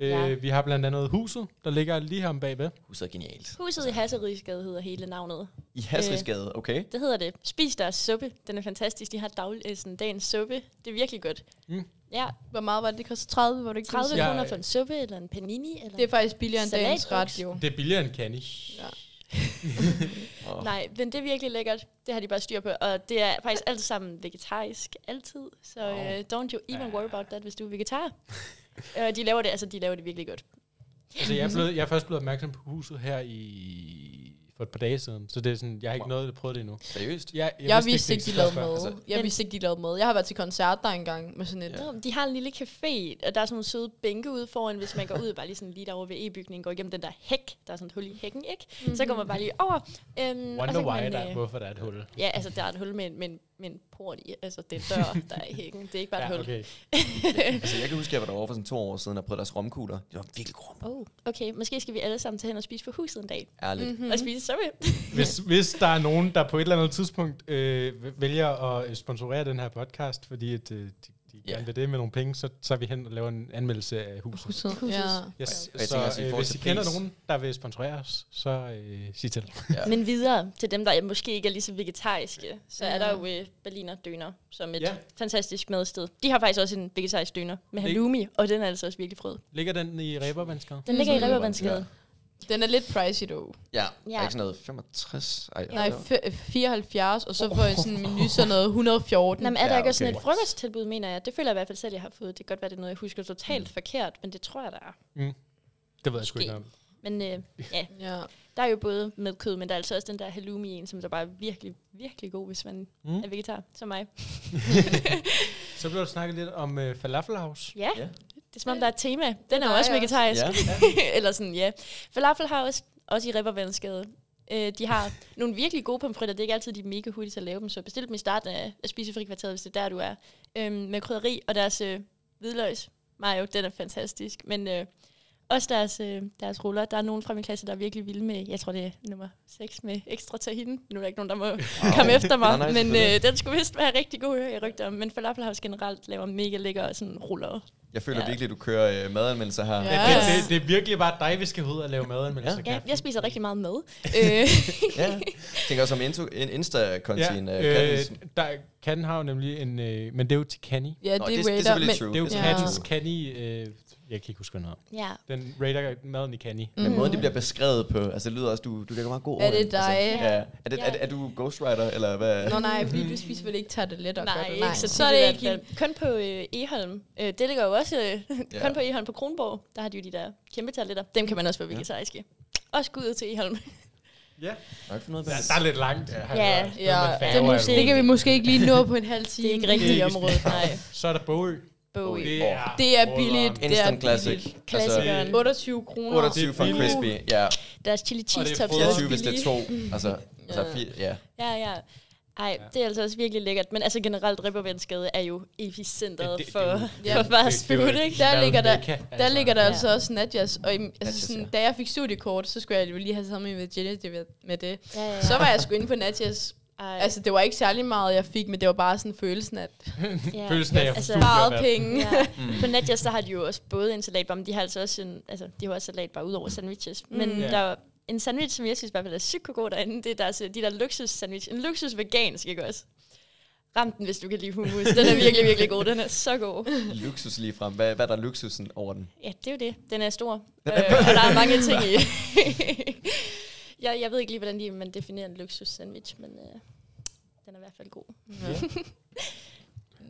S3: Ja.
S1: Øh, vi har blandt andet huset, der ligger lige her om bagved.
S2: Huset er genialt.
S3: Huset i Hasserigsgade hedder hele navnet.
S2: I Hasrigsgade, okay?
S3: Det hedder det. Spis deres suppe. Den er fantastisk. De har daglig, øh, sådan, dagens suppe. Det er virkelig godt.
S1: Mm.
S3: Ja,
S4: Hvor meget var det? Det kostede 30, var det ikke
S3: 30
S1: Ja.
S3: kroner for en suppe eller en panini. Eller?
S4: Det er faktisk billigere end dagens
S3: Salatboks.
S4: ret, jo.
S1: Det er billigere end Canny.
S2: Oh.
S3: Nej, men det er virkelig lækkert. Det har de bare styr på. Og det er faktisk alt sammen vegetarisk. Altid. Så
S2: Wow.
S3: wow. uh, don't you even worry about that, hvis du er vegetar. uh, de laver det, altså de laver det virkelig godt.
S1: Altså, jeg er, blevet, jeg er først blevet opmærksom på huset her i for et par dage siden, så det er sådan, jeg har ikke nået at prøve det endnu.
S2: Seriøst?
S1: Jeg,
S4: Jeg vidste ikke, de lavede
S1: eksisterede før.
S4: mad. Jeg vidste ikke, de lavede mad. Jeg har været til koncert der engang med sådan et...
S3: Nå, men de har en lille café, og der er sådan nogle søde bænke ude foran, hvis man går ud, bare lige sådan lige derovre ved E-bygningen, går igennem den der hæk, der er sådan et hul i hækken, ikke? Mm-hmm. Så går man bare lige over. Øhm, og så
S1: Mhm. Wonder
S3: kan
S1: why,
S3: man,
S1: der,
S3: øh,
S1: er- hvorfor der er et hul.
S3: Ja, altså der er et hul med en, med en, med en port i, altså det er dør, der er i hækken, det er ikke bare et
S1: Ja,
S3: hul.
S1: okay.
S2: altså, jeg kan huske, at jeg var derovre for sådan to år siden og prøvede deres romkugler. Det var virkelig gode.
S3: Oh, okay, måske skal vi alle sammen tage hen og spise på huset en dag.
S2: Ærligt.
S4: Mhm.
S1: Mhm.
S3: Mm. Og spise suppe.
S1: Hvis, hvis der er nogen, der på et eller andet tidspunkt øh, vælger at sponsorere den her podcast, fordi at, øh, de, de
S2: Ja.
S1: gerne vil det med nogle penge, så tager vi hen og laver en anmeldelse af huset.
S4: Huset. Ja.
S3: Huset.
S1: Yes,
S2: Og jeg
S1: så
S2: tænker også, i
S1: øh,
S2: forhold
S1: hvis I
S2: til
S1: kender
S2: pris-
S1: nogen, der vil sponsorere os, så øh, sig til.
S2: Ja.
S3: Men videre til dem, der måske ikke er lige så vegetariske, så
S4: Ja.
S3: er der jo øh, Berliner Døner som et
S1: Ja.
S3: ja. fantastisk madsted. De har faktisk også en vegetarisk døner med
S1: Det-
S3: halloumi, og den er altså også virkelig frød.
S1: Ligger den i Ræbervandskade?
S3: Den ligger i
S2: sådan en
S3: Ribbervandsgade.
S4: Den er lidt pricey, dog.
S2: Ja,
S3: Ja.
S2: ja. Er ikke sådan noget 65? Ej,
S4: Nej,
S2: jo.
S4: f- 74, og så får jeg sådan en menu sådan noget 114.
S3: Nå, men er der
S2: Ja,
S3: ikke også sådan
S2: okay.
S3: et frokosttilbud, mener jeg? Det føler jeg i hvert fald selv, jeg har fået. Det kan godt være, det er noget, jeg husker totalt mm. forkert, men det tror jeg, der er.
S1: Det ved jeg sgu
S3: Måske.
S1: ikke om.
S3: Men øh, ja,
S4: Ja.
S3: der er jo både med kød, men der er altså også den der halloumi en, som der bare er virkelig, virkelig god, hvis man
S1: Mm.
S3: mm. er vegetar, som mig.
S1: Så blev der snakket lidt om øh, Falafel House.
S3: Ja,
S2: Ja.
S3: yeah. det er som om, der er et tema. Den er jo
S4: er
S3: også
S4: jeg
S3: vegetarisk.
S2: Ja.
S3: Eller sådan, ja. Falafel har også, også i Rippervandsgade. Øh, de har nogle virkelig gode pomfritter. Det er ikke altid, de er mega hurtige til at lave dem, så bestil dem i starten af af spisefri kvarteret, hvis det er der, du er. Øhm, med krydderi og deres øh, hvidløgs mayo, den er fantastisk. Men øh, også deres, øh, deres ruller. Der er nogen fra min klasse, der er virkelig vilde med, jeg tror det er nummer 6 med ekstra tahini. Nu er der ikke nogen, der må komme efter mig,
S2: Nej, nej,
S3: men
S2: selvfølgelig.
S3: øh, den skulle vist være rigtig god, hører jeg rygter om. Men Falafel House generelt laver mega lækker sådan ruller.
S2: Jeg føler
S3: Ja.
S2: virkelig, at du kører øh, madanmeldelser her.
S1: Men
S4: Ja.
S1: det, det, det er virkelig bare dig, vi skal ud og lave madanmeldelser.
S3: Ja,
S1: Kaffe.
S3: jeg spiser rigtig meget mad. øh,
S2: ja. Jeg tænker også om into, en Insta-kontin. Ja. Øh,
S1: øh,
S2: Kattis.
S1: der, Kan har jo nemlig en... Øh, men det er jo til Canny.
S4: Ja,
S2: Nå, det,
S4: det, er
S2: det er
S4: waiter,
S2: selvfølgelig
S4: men
S2: true.
S1: Det er jo
S2: Det er
S4: Ja.
S1: Kattis Canny... Øh, jeg kan ikke huske noget.
S3: ja,
S1: Den rater maden i Canny.
S2: Men måden, det bliver beskrevet på, altså det lyder også, du, du lægger meget god
S4: Mm. Er
S2: ord
S4: det
S2: ind, altså.
S4: dig?
S2: ja. Er, det,
S3: Ja.
S2: er, er, du ghostwriter, eller hvad?
S4: Nå nej, fordi du spiser vel ikke tager det let og
S3: Nej,
S4: gør det.
S3: ikke så,
S4: så er det ikke helt...
S3: Kun på øh, Eholm. Øh, det ligger jo også øh,
S2: Ja.
S3: kun på Eholm på Kronborg. Der har de jo de der kæmpe toiletter. Dem kan man også få vegetariske. Også gå ud til Eholm.
S1: Ja.
S2: Nok for noget
S1: Der,
S2: bedre.
S1: der er lidt langt. Ja,
S3: Ja.
S4: Ja,
S3: det er måske-
S4: det kan vi måske ikke lige nå på en halv time.
S3: Det er ikke rigtigt
S1: Det
S3: i
S1: er-
S3: området. Nej,
S1: Så er der Bogø.
S3: Bowie.
S4: Det er billigt.
S1: råderen.
S4: er
S2: Instant
S4: billigt.
S2: classic. Altså,
S3: Klassikeren.
S4: 28 kroner.
S2: 28 for en
S1: Det er
S2: crispy, ja.
S3: Deres chili cheese
S1: det er
S3: tops er også
S2: 24, hvis det er
S3: billige.
S2: to. Altså, altså
S4: Ja.
S2: fire, ja.
S3: Ja, ja. Ej, det er altså også virkelig lækkert. Men altså generelt, Rippervensgade er jo epicentret
S1: Det- det-
S3: for,
S1: det er
S3: for
S4: jo- det-
S3: fast food, ikke?
S4: Der ligger der-
S1: altså.
S4: Der ligger der
S3: Ja.
S4: altså også Nadjas, og i- altså
S2: Nadjas,
S4: sådan,
S2: ja.
S4: da jeg fik studiekort, så skulle jeg jo lige have sammen med Virginia det- med det.
S3: Ja, ja, ja.
S4: Så var jeg sgu inde på Nadjas.
S3: Ej,
S4: Altså, det var ikke særlig meget, jeg fik, men det var bare sådan følelsen af
S3: ja.
S1: Følelsen af, at jeg
S3: Altså-
S1: forstod,
S4: sparet
S1: hvad-
S4: penge.
S3: Ja. Mm. På Netjas, der har de jo også både en salatbar, men de har altså også en, altså, de har også salatbar ud over sandwiches. Mm. Men
S1: Ja.
S3: yeah. der er en sandwich, som jeg synes i hvert fald er sygt god derinde, det er deres, øh, de der luksus sandwich. En luksus vegansk, ikke også? Ram den, hvis du kan lide hummus. Den er virkelig, virkelig god. Den er så god.
S2: Luksus lige frem. Hvad, hvad er der luksusen over den?
S3: Ja, det er jo det. Den er stor. øh, og der er mange ting i. jeg, jeg ved ikke lige, hvordan de, man definerer en luksus sandwich, men øh, den er i hvert fald god.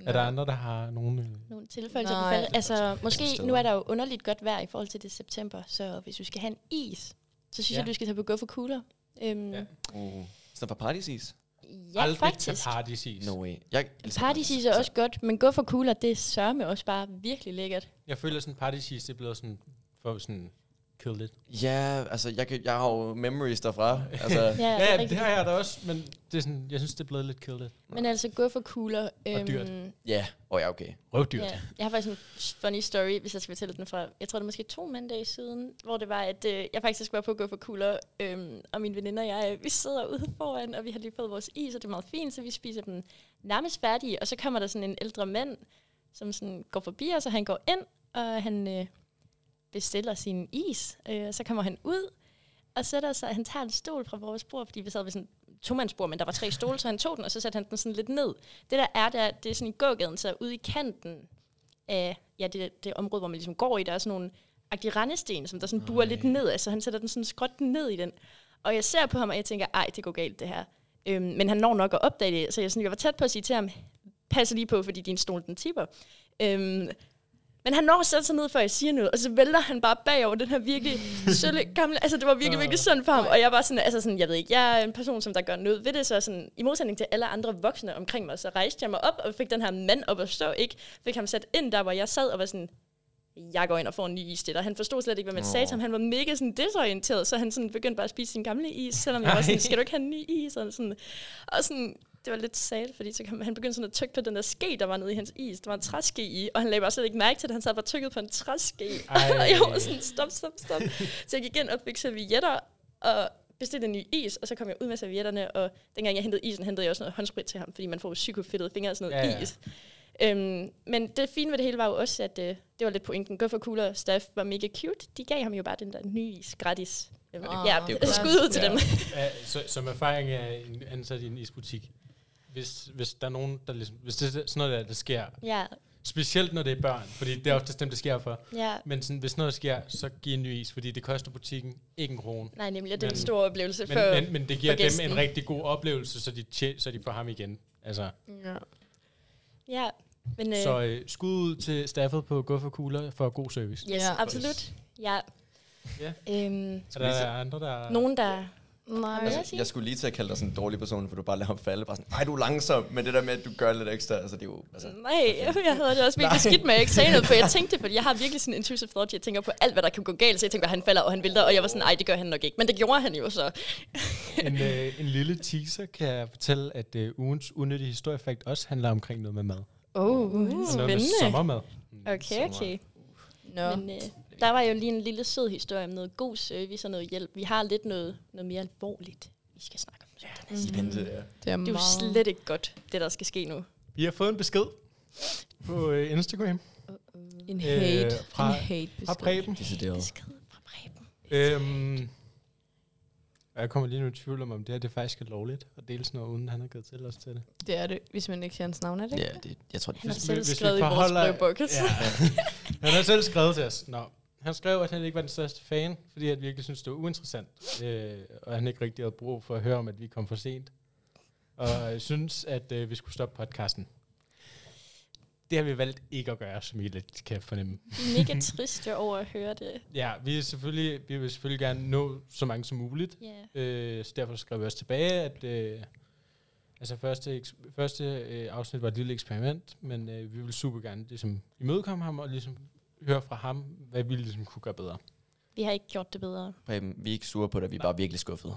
S1: Er der andre, der har nogen... øh,
S3: Nogle tilføjelser
S4: Nej.
S3: på faldet. Altså,
S2: Steder.
S3: måske, nu er der jo underligt godt vejr i forhold til det september, så hvis du skal have en is, så synes
S1: Ja.
S3: ja. jeg, du skal tage på gå for kugler. Øhm,
S1: Ja.
S3: ja,
S2: Uh. Sådan for partysis?
S1: aldrig
S3: ja
S1: Altså-
S3: faktisk.
S1: Til partysis.
S2: No way. Jeg elsker
S3: Partysis er også godt, men gå for kugler, det sørger med også bare virkelig lækkert.
S1: Jeg føler sådan, partysis, det er blevet sådan, for sådan killed it.
S2: Ja, altså, jeg, kan, jeg har jo memories derfra. Altså,
S1: Ja,
S3: det er
S1: ja, det,
S3: rigtigt.
S1: har jeg da også, men det er sådan, jeg synes, det er blevet lidt killed it.
S3: Men altså, gå for kugler. øhm,
S1: dyrt.
S2: ja, og ja, okay.
S1: Røvdyrt.
S3: Ja. Jeg har faktisk en funny story, hvis jeg skal fortælle den fra, jeg tror det er måske to mandage siden, hvor det var, at øh, jeg faktisk var på at gå for kugler, øhm, og min veninde og jeg, øh, vi sidder ude foran, og vi har lige fået vores is, og det er meget fint, så vi spiser dem nærmest færdige, og så kommer der sådan en ældre mand, som sådan går forbi os, og han går ind, og han øh, bestiller sin is, øh, og så kommer han ud, og sætter sig, han tager en stol fra vores bord, fordi vi sad ved sådan et tomandsbord, men der var tre stole, så han tog den, og så satte han den sådan lidt ned. Det der er, det er, det er sådan i gågaden, så ude i kanten af ja, det, det område, hvor man ligesom går i, der er sådan nogle agtige rendesten, som der sådan buer lidt ned af, så han sætter den sådan skråt ned i den. Og jeg ser på ham, og jeg tænker, ej, det går galt det her. Øhm, men han når nok at opdage det, så jeg, sådan, jeg var tæt på at sige til ham, pas lige på, fordi din stol den tipper. Øhm, men han når at sætte sig ned, før jeg siger noget, og så vælter han bare bagover den her virkelig sølle gamle... Altså, det var virkelig, virkelig synd for ham. Og jeg var sådan, altså sådan, jeg ved ikke, jeg er en person, som der gør noget ved det, så sådan, i modsætning til alle andre voksne omkring mig, så rejste jeg mig op og fik den her mand op at stå, ikke? Fik ham sat ind der, hvor jeg sad og var sådan, jeg går ind og får en ny is til dig. Han forstod slet ikke, hvad man sagde til ham. Han var mega sådan desorienteret, så han sådan begyndte bare at spise sin gamle is, selvom jeg var sådan, skal du ikke have en ny is? Og sådan, og sådan, det var lidt sad, fordi så kom, han begyndte sådan at tykke på den der ske, der var nede i hans is. Der var en træske i, og han lagde bare slet ikke mærke til det. Han sad bare tykket på en træske. og jeg var sådan, stop, stop, stop. så jeg gik ind og fik servietter og bestilte en ny is, og så kom jeg ud med servietterne, og dengang jeg hentede isen, hentede jeg også noget håndsprit til ham, fordi man får jo psykofedtede fingre og sådan noget
S1: Ja,
S3: ja,
S1: ja.
S3: ja. is. Øhm, men det fine ved det hele var jo også, at øh, det var lidt pointen. Guffer Cooler og Staff var mega cute. De gav ham jo bare den der nye is gratis. Øhm,
S4: Ah,
S3: ja,
S4: det er
S2: jo
S3: det er skud ud til
S2: Ja.
S3: dem.
S1: Ja, så, som erfaring af en ansat i en isbutik, hvis, hvis der er nogen, der ligesom, hvis det er sådan noget, der, der sker,
S3: ja,
S1: specielt når det er børn, fordi det er oftest dem, det sker for,
S3: ja.
S1: men sådan, hvis noget sker, så giv en ny is, fordi det koster butikken ikke en krone.
S3: Nej, nemlig, og det er en
S1: Men-
S3: stor oplevelse
S1: Men,
S3: for...
S1: men, men det giver
S3: for
S1: dem
S3: gæsten.
S1: en rigtig god oplevelse, så de, tje, så de får ham igen. Altså,
S4: Ja.
S3: ja, men... Øh,
S1: så øh, skud ud til staffet på Guffer Cooler for god service.
S3: yes, ja.
S4: Ja.
S3: absolut. Ja.
S1: Ja.
S3: Øhm,
S1: Er der andre, der...
S3: nogen, der...
S4: Nej.
S3: Altså,
S2: Altså, jeg skulle lige til at kalde dig sådan en dårlig person, for du bare lader ham falde. Bare sådan, ej, du er langsom, men det der med, at du gør lidt ekstra, altså det er jo... Altså,
S3: Nej, jeg havde det også virkelig skidt med, at jeg ikke sagde noget, for jeg tænkte, fordi jeg har virkelig sådan en intrusive thought, jeg tænker på alt, hvad der kan gå galt, så jeg tænker, at han falder, og han vælter, og jeg var sådan, nej, det gør han nok ikke, men det gjorde han jo så.
S1: en, øh, en lille teaser kan jeg fortælle, at øh, ugens unødige historiefakt også handler omkring noget med mad.
S3: Oh, uh,
S1: Noget med
S3: spændende.
S1: sommermad.
S3: Okay, okay.
S4: Nå.
S3: Men øh, der var jo lige en lille sød historie om noget god service og noget hjælp. Vi har lidt noget, noget mere alvorligt, vi skal snakke om. Ja. Det
S2: I vente, ja.
S4: Det er
S3: er jo
S4: meget...
S3: slet ikke godt, det der skal ske nu.
S1: Vi har fået en besked på øh, Instagram
S4: En
S1: Øh,
S4: hate.
S1: fra-
S4: en hate
S1: fra Preben.
S2: Decideret.
S3: Besked fra Preben.
S1: Øhm, og jeg kommer lige nu i tvivl om, om det her det faktisk er lovligt at dele sådan noget, uden han har givet til os til det.
S4: Det er det, hvis man ikke siger hans navn, er det ikke?
S2: Ja, det, jeg tror, det
S3: Han
S2: er
S3: har
S1: Hvis vi-
S3: selv
S1: hvis vi
S3: skrevet i vores
S1: forholder-
S3: brevbukke.
S1: Ja. Han har selv skrevet til os. Nå. Han skrev, at han ikke var den største fan, fordi han virkelig syntes, det var uinteressant. Øh, og han ikke rigtig havde brug for at høre om, at vi kom for sent. Og øh, syntes, at øh, vi skulle stoppe podcasten. Det har vi valgt ikke at gøre, som I lidt kan fornemme.
S3: Mega trist jeg over at høre det.
S1: Ja, vi, er selvfølgelig, vi vil selvfølgelig gerne nå så mange som muligt.
S3: Ja.
S1: Øh, så derfor skrev vi også tilbage, at øh, altså første, eks- første øh, afsnit var et lille eksperiment, men øh, vi ville super gerne ligesom, imødekomme ham og ligesom høre fra ham, hvad vi ligesom kunne gøre bedre.
S3: Vi har ikke gjort det bedre.
S2: Preben, vi er ikke sure på dig, vi er bare virkelig skuffede.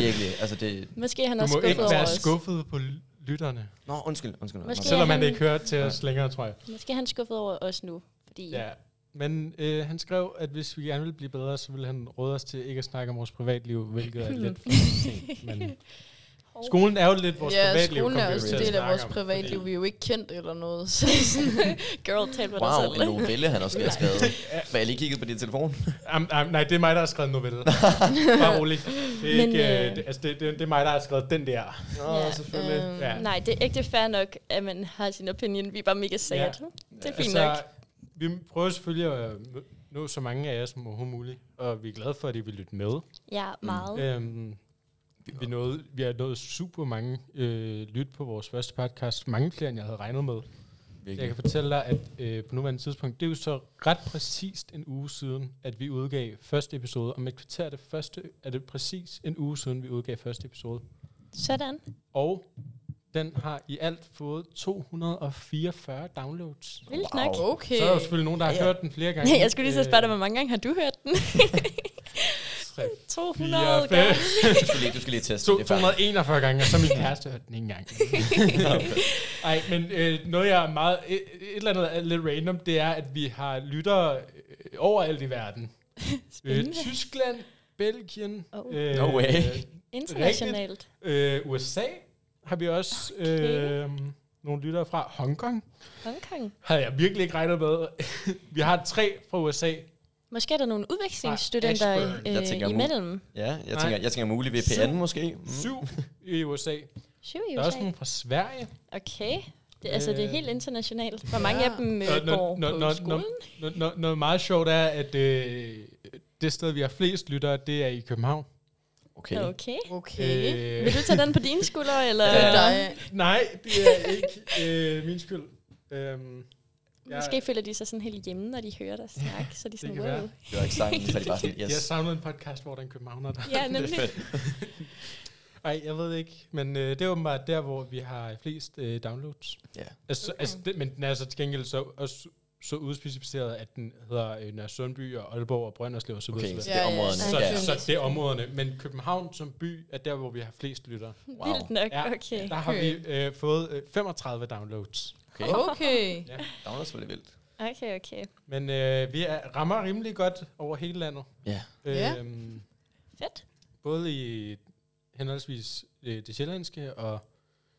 S2: virkelig, altså det...
S3: Måske er han
S1: Du
S3: også
S1: må
S3: skuffet
S1: ikke
S3: over
S1: være
S3: os.
S1: skuffet på l- lytterne,
S2: Nå, undskyld, undskyld.
S3: Måske-
S2: undskyld.
S1: selvom han
S3: han-
S1: ikke hører til os længere, tror jeg.
S3: Måske er han skuffet over os nu. Fordi ja.
S1: Ja. Men øh, han skrev, at hvis vi gerne ville blive bedre, så ville han råde os til ikke at snakke om vores privatliv, hvilket er lidt for sent. Men skolen er jo lidt vores
S4: ja,
S1: privatliv.
S4: skolen
S1: kom
S4: er
S1: vi jo
S4: også
S1: til
S4: en
S1: at
S4: del af
S1: snakke
S4: vores
S1: om,
S4: privatliv.
S1: fordi-
S4: Vi er jo ikke kendt eller noget. Så.
S3: girl, tal med dig
S2: Wow, en
S3: selv.
S2: novelle, han også skal have skrevet. Hvad, jeg lige kigget på din telefon?
S1: Am, am, nej, det er mig, der har skrevet novelle. Bare rolig. Det er,
S3: Men,
S1: ikke, øh,
S3: øh,
S1: det, altså, det, det, det er mig, der har skrevet den der.
S2: Nå,
S3: Ja,
S2: selvfølgelig.
S4: øhm,
S1: Ja.
S3: Nej, det er ikke det er fair nok, at man har sin opinion. Vi er bare mega sad.
S1: Ja.
S3: Ja. Det er fint nok.
S1: Altså, Vi prøver selvfølgelig at øh, nå så mange af jer som overhovedet muligt, og vi er glade for, at I vil lytte med.
S3: Ja, meget.
S1: Øhm, vi, nåede, vi har nået super mange øh, lyt på vores første podcast. Mange flere, end jeg havde regnet med. Jeg kan
S2: Virkelig.
S1: fortælle dig, at øh, på nuværende tidspunkt, det er jo så ret præcist en uge siden, at vi udgav første episode. Om et kvarter er det, første, er det præcis en uge siden, vi udgav første episode.
S3: Sådan.
S1: Og Den har i alt fået 244 downloads.
S3: Vildt nok.
S2: Wow.
S4: Okay.
S1: Så er der jo selvfølgelig nogen, der har
S2: Ja, ja.
S1: hørt den flere gange.
S3: Ja, jeg skulle lige så
S1: Øh,
S3: spørge dig, hvor mange gange har du hørt den?
S1: 3,
S3: 200
S1: 4, 5,
S3: gange.
S2: Du skal lige, du skal lige teste
S1: To-
S2: det. før.
S1: 241 gange, og så min kæreste hørte den ikke engang. Nej, men øh, noget jeg er meget, et, et eller andet er lidt random, det er, at vi har lyttere øh, overalt i verden. Øh,
S3: Spændende.
S1: Tyskland, Belgien,
S3: Oh.
S1: øh,
S2: No way.
S3: Internationalt.
S1: øh, USA har vi også
S3: Okay.
S1: øh, nogle lyttere fra. Hongkong
S3: Hongkong.
S1: havde jeg virkelig ikke regnet med. vi har tre fra USA.
S3: Måske er der nogle udvekslingsstudenter
S1: Nej, Ashburn.
S2: Jeg tænker,
S3: øh,
S2: mu-
S3: imellem.
S2: Ja, jeg
S1: Nej.
S2: tænker, jeg tænker mulig VPN
S1: Syv.
S2: måske. Mm.
S1: Syv i USA.
S3: Syv i
S1: Der er også
S3: USA.
S1: nogle fra Sverige.
S3: Okay. Det, altså, det er helt internationalt. Hvor mange
S4: Ja.
S3: af dem øh,
S1: Nå, nå,
S3: går
S1: nå,
S3: på
S1: nå, nå.
S3: skolen?
S1: Noget, noget, noget meget sjovt er, at øh, det sted, vi har flest lyttere, det er i København.
S2: Okay.
S3: Okay.
S4: Okay.
S1: Øh,
S3: Vil du tage den på dine skuldre, eller?
S4: Det er
S2: Ja.
S4: dig.
S1: Nej, det er ikke øh, min skyld. Øhm, jeg-
S3: Måske føler de sig sådan helt hjemme, når de hører dig snakke, så de er sådan,
S1: kan
S3: wow.
S1: være.
S2: Det var ikke sangen, så er det bare sådan,
S1: yes. Jeg
S2: yes.
S1: savnede en podcast, hvor der er en københavner der.
S3: Ja,
S2: Det er
S3: nemlig.
S2: fedt.
S1: Ej, jeg ved det ikke, men øh, det er åbenbart der, hvor vi har flest øh, downloads.
S2: Ja.
S1: Altså, okay. altså, det, men den er så til gengæld så, også, så udspecificeret, at den hedder øh, Nørre Sundby og Aalborg og Brønderslev osv.
S2: Okay, så
S1: så,
S2: det er
S4: Ja, ja.
S2: områderne.
S1: så,
S2: Ja.
S4: Ja.
S1: så det er områderne. Men København som by er der, hvor vi har flest lyttere.
S2: Wow.
S3: Vildt nok,
S1: Ja,
S3: okay.
S1: Der har vi øh, fået øh, 35 downloads.
S2: Okay.
S4: Okay.
S2: Downloads var det vildt.
S3: Okay, okay.
S1: Men øh, vi er, rammer rimelig godt over hele landet.
S2: Ja.
S4: Ja.
S1: Øhm,
S3: Fedt.
S1: både i henholdsvis øh, det sjællandske og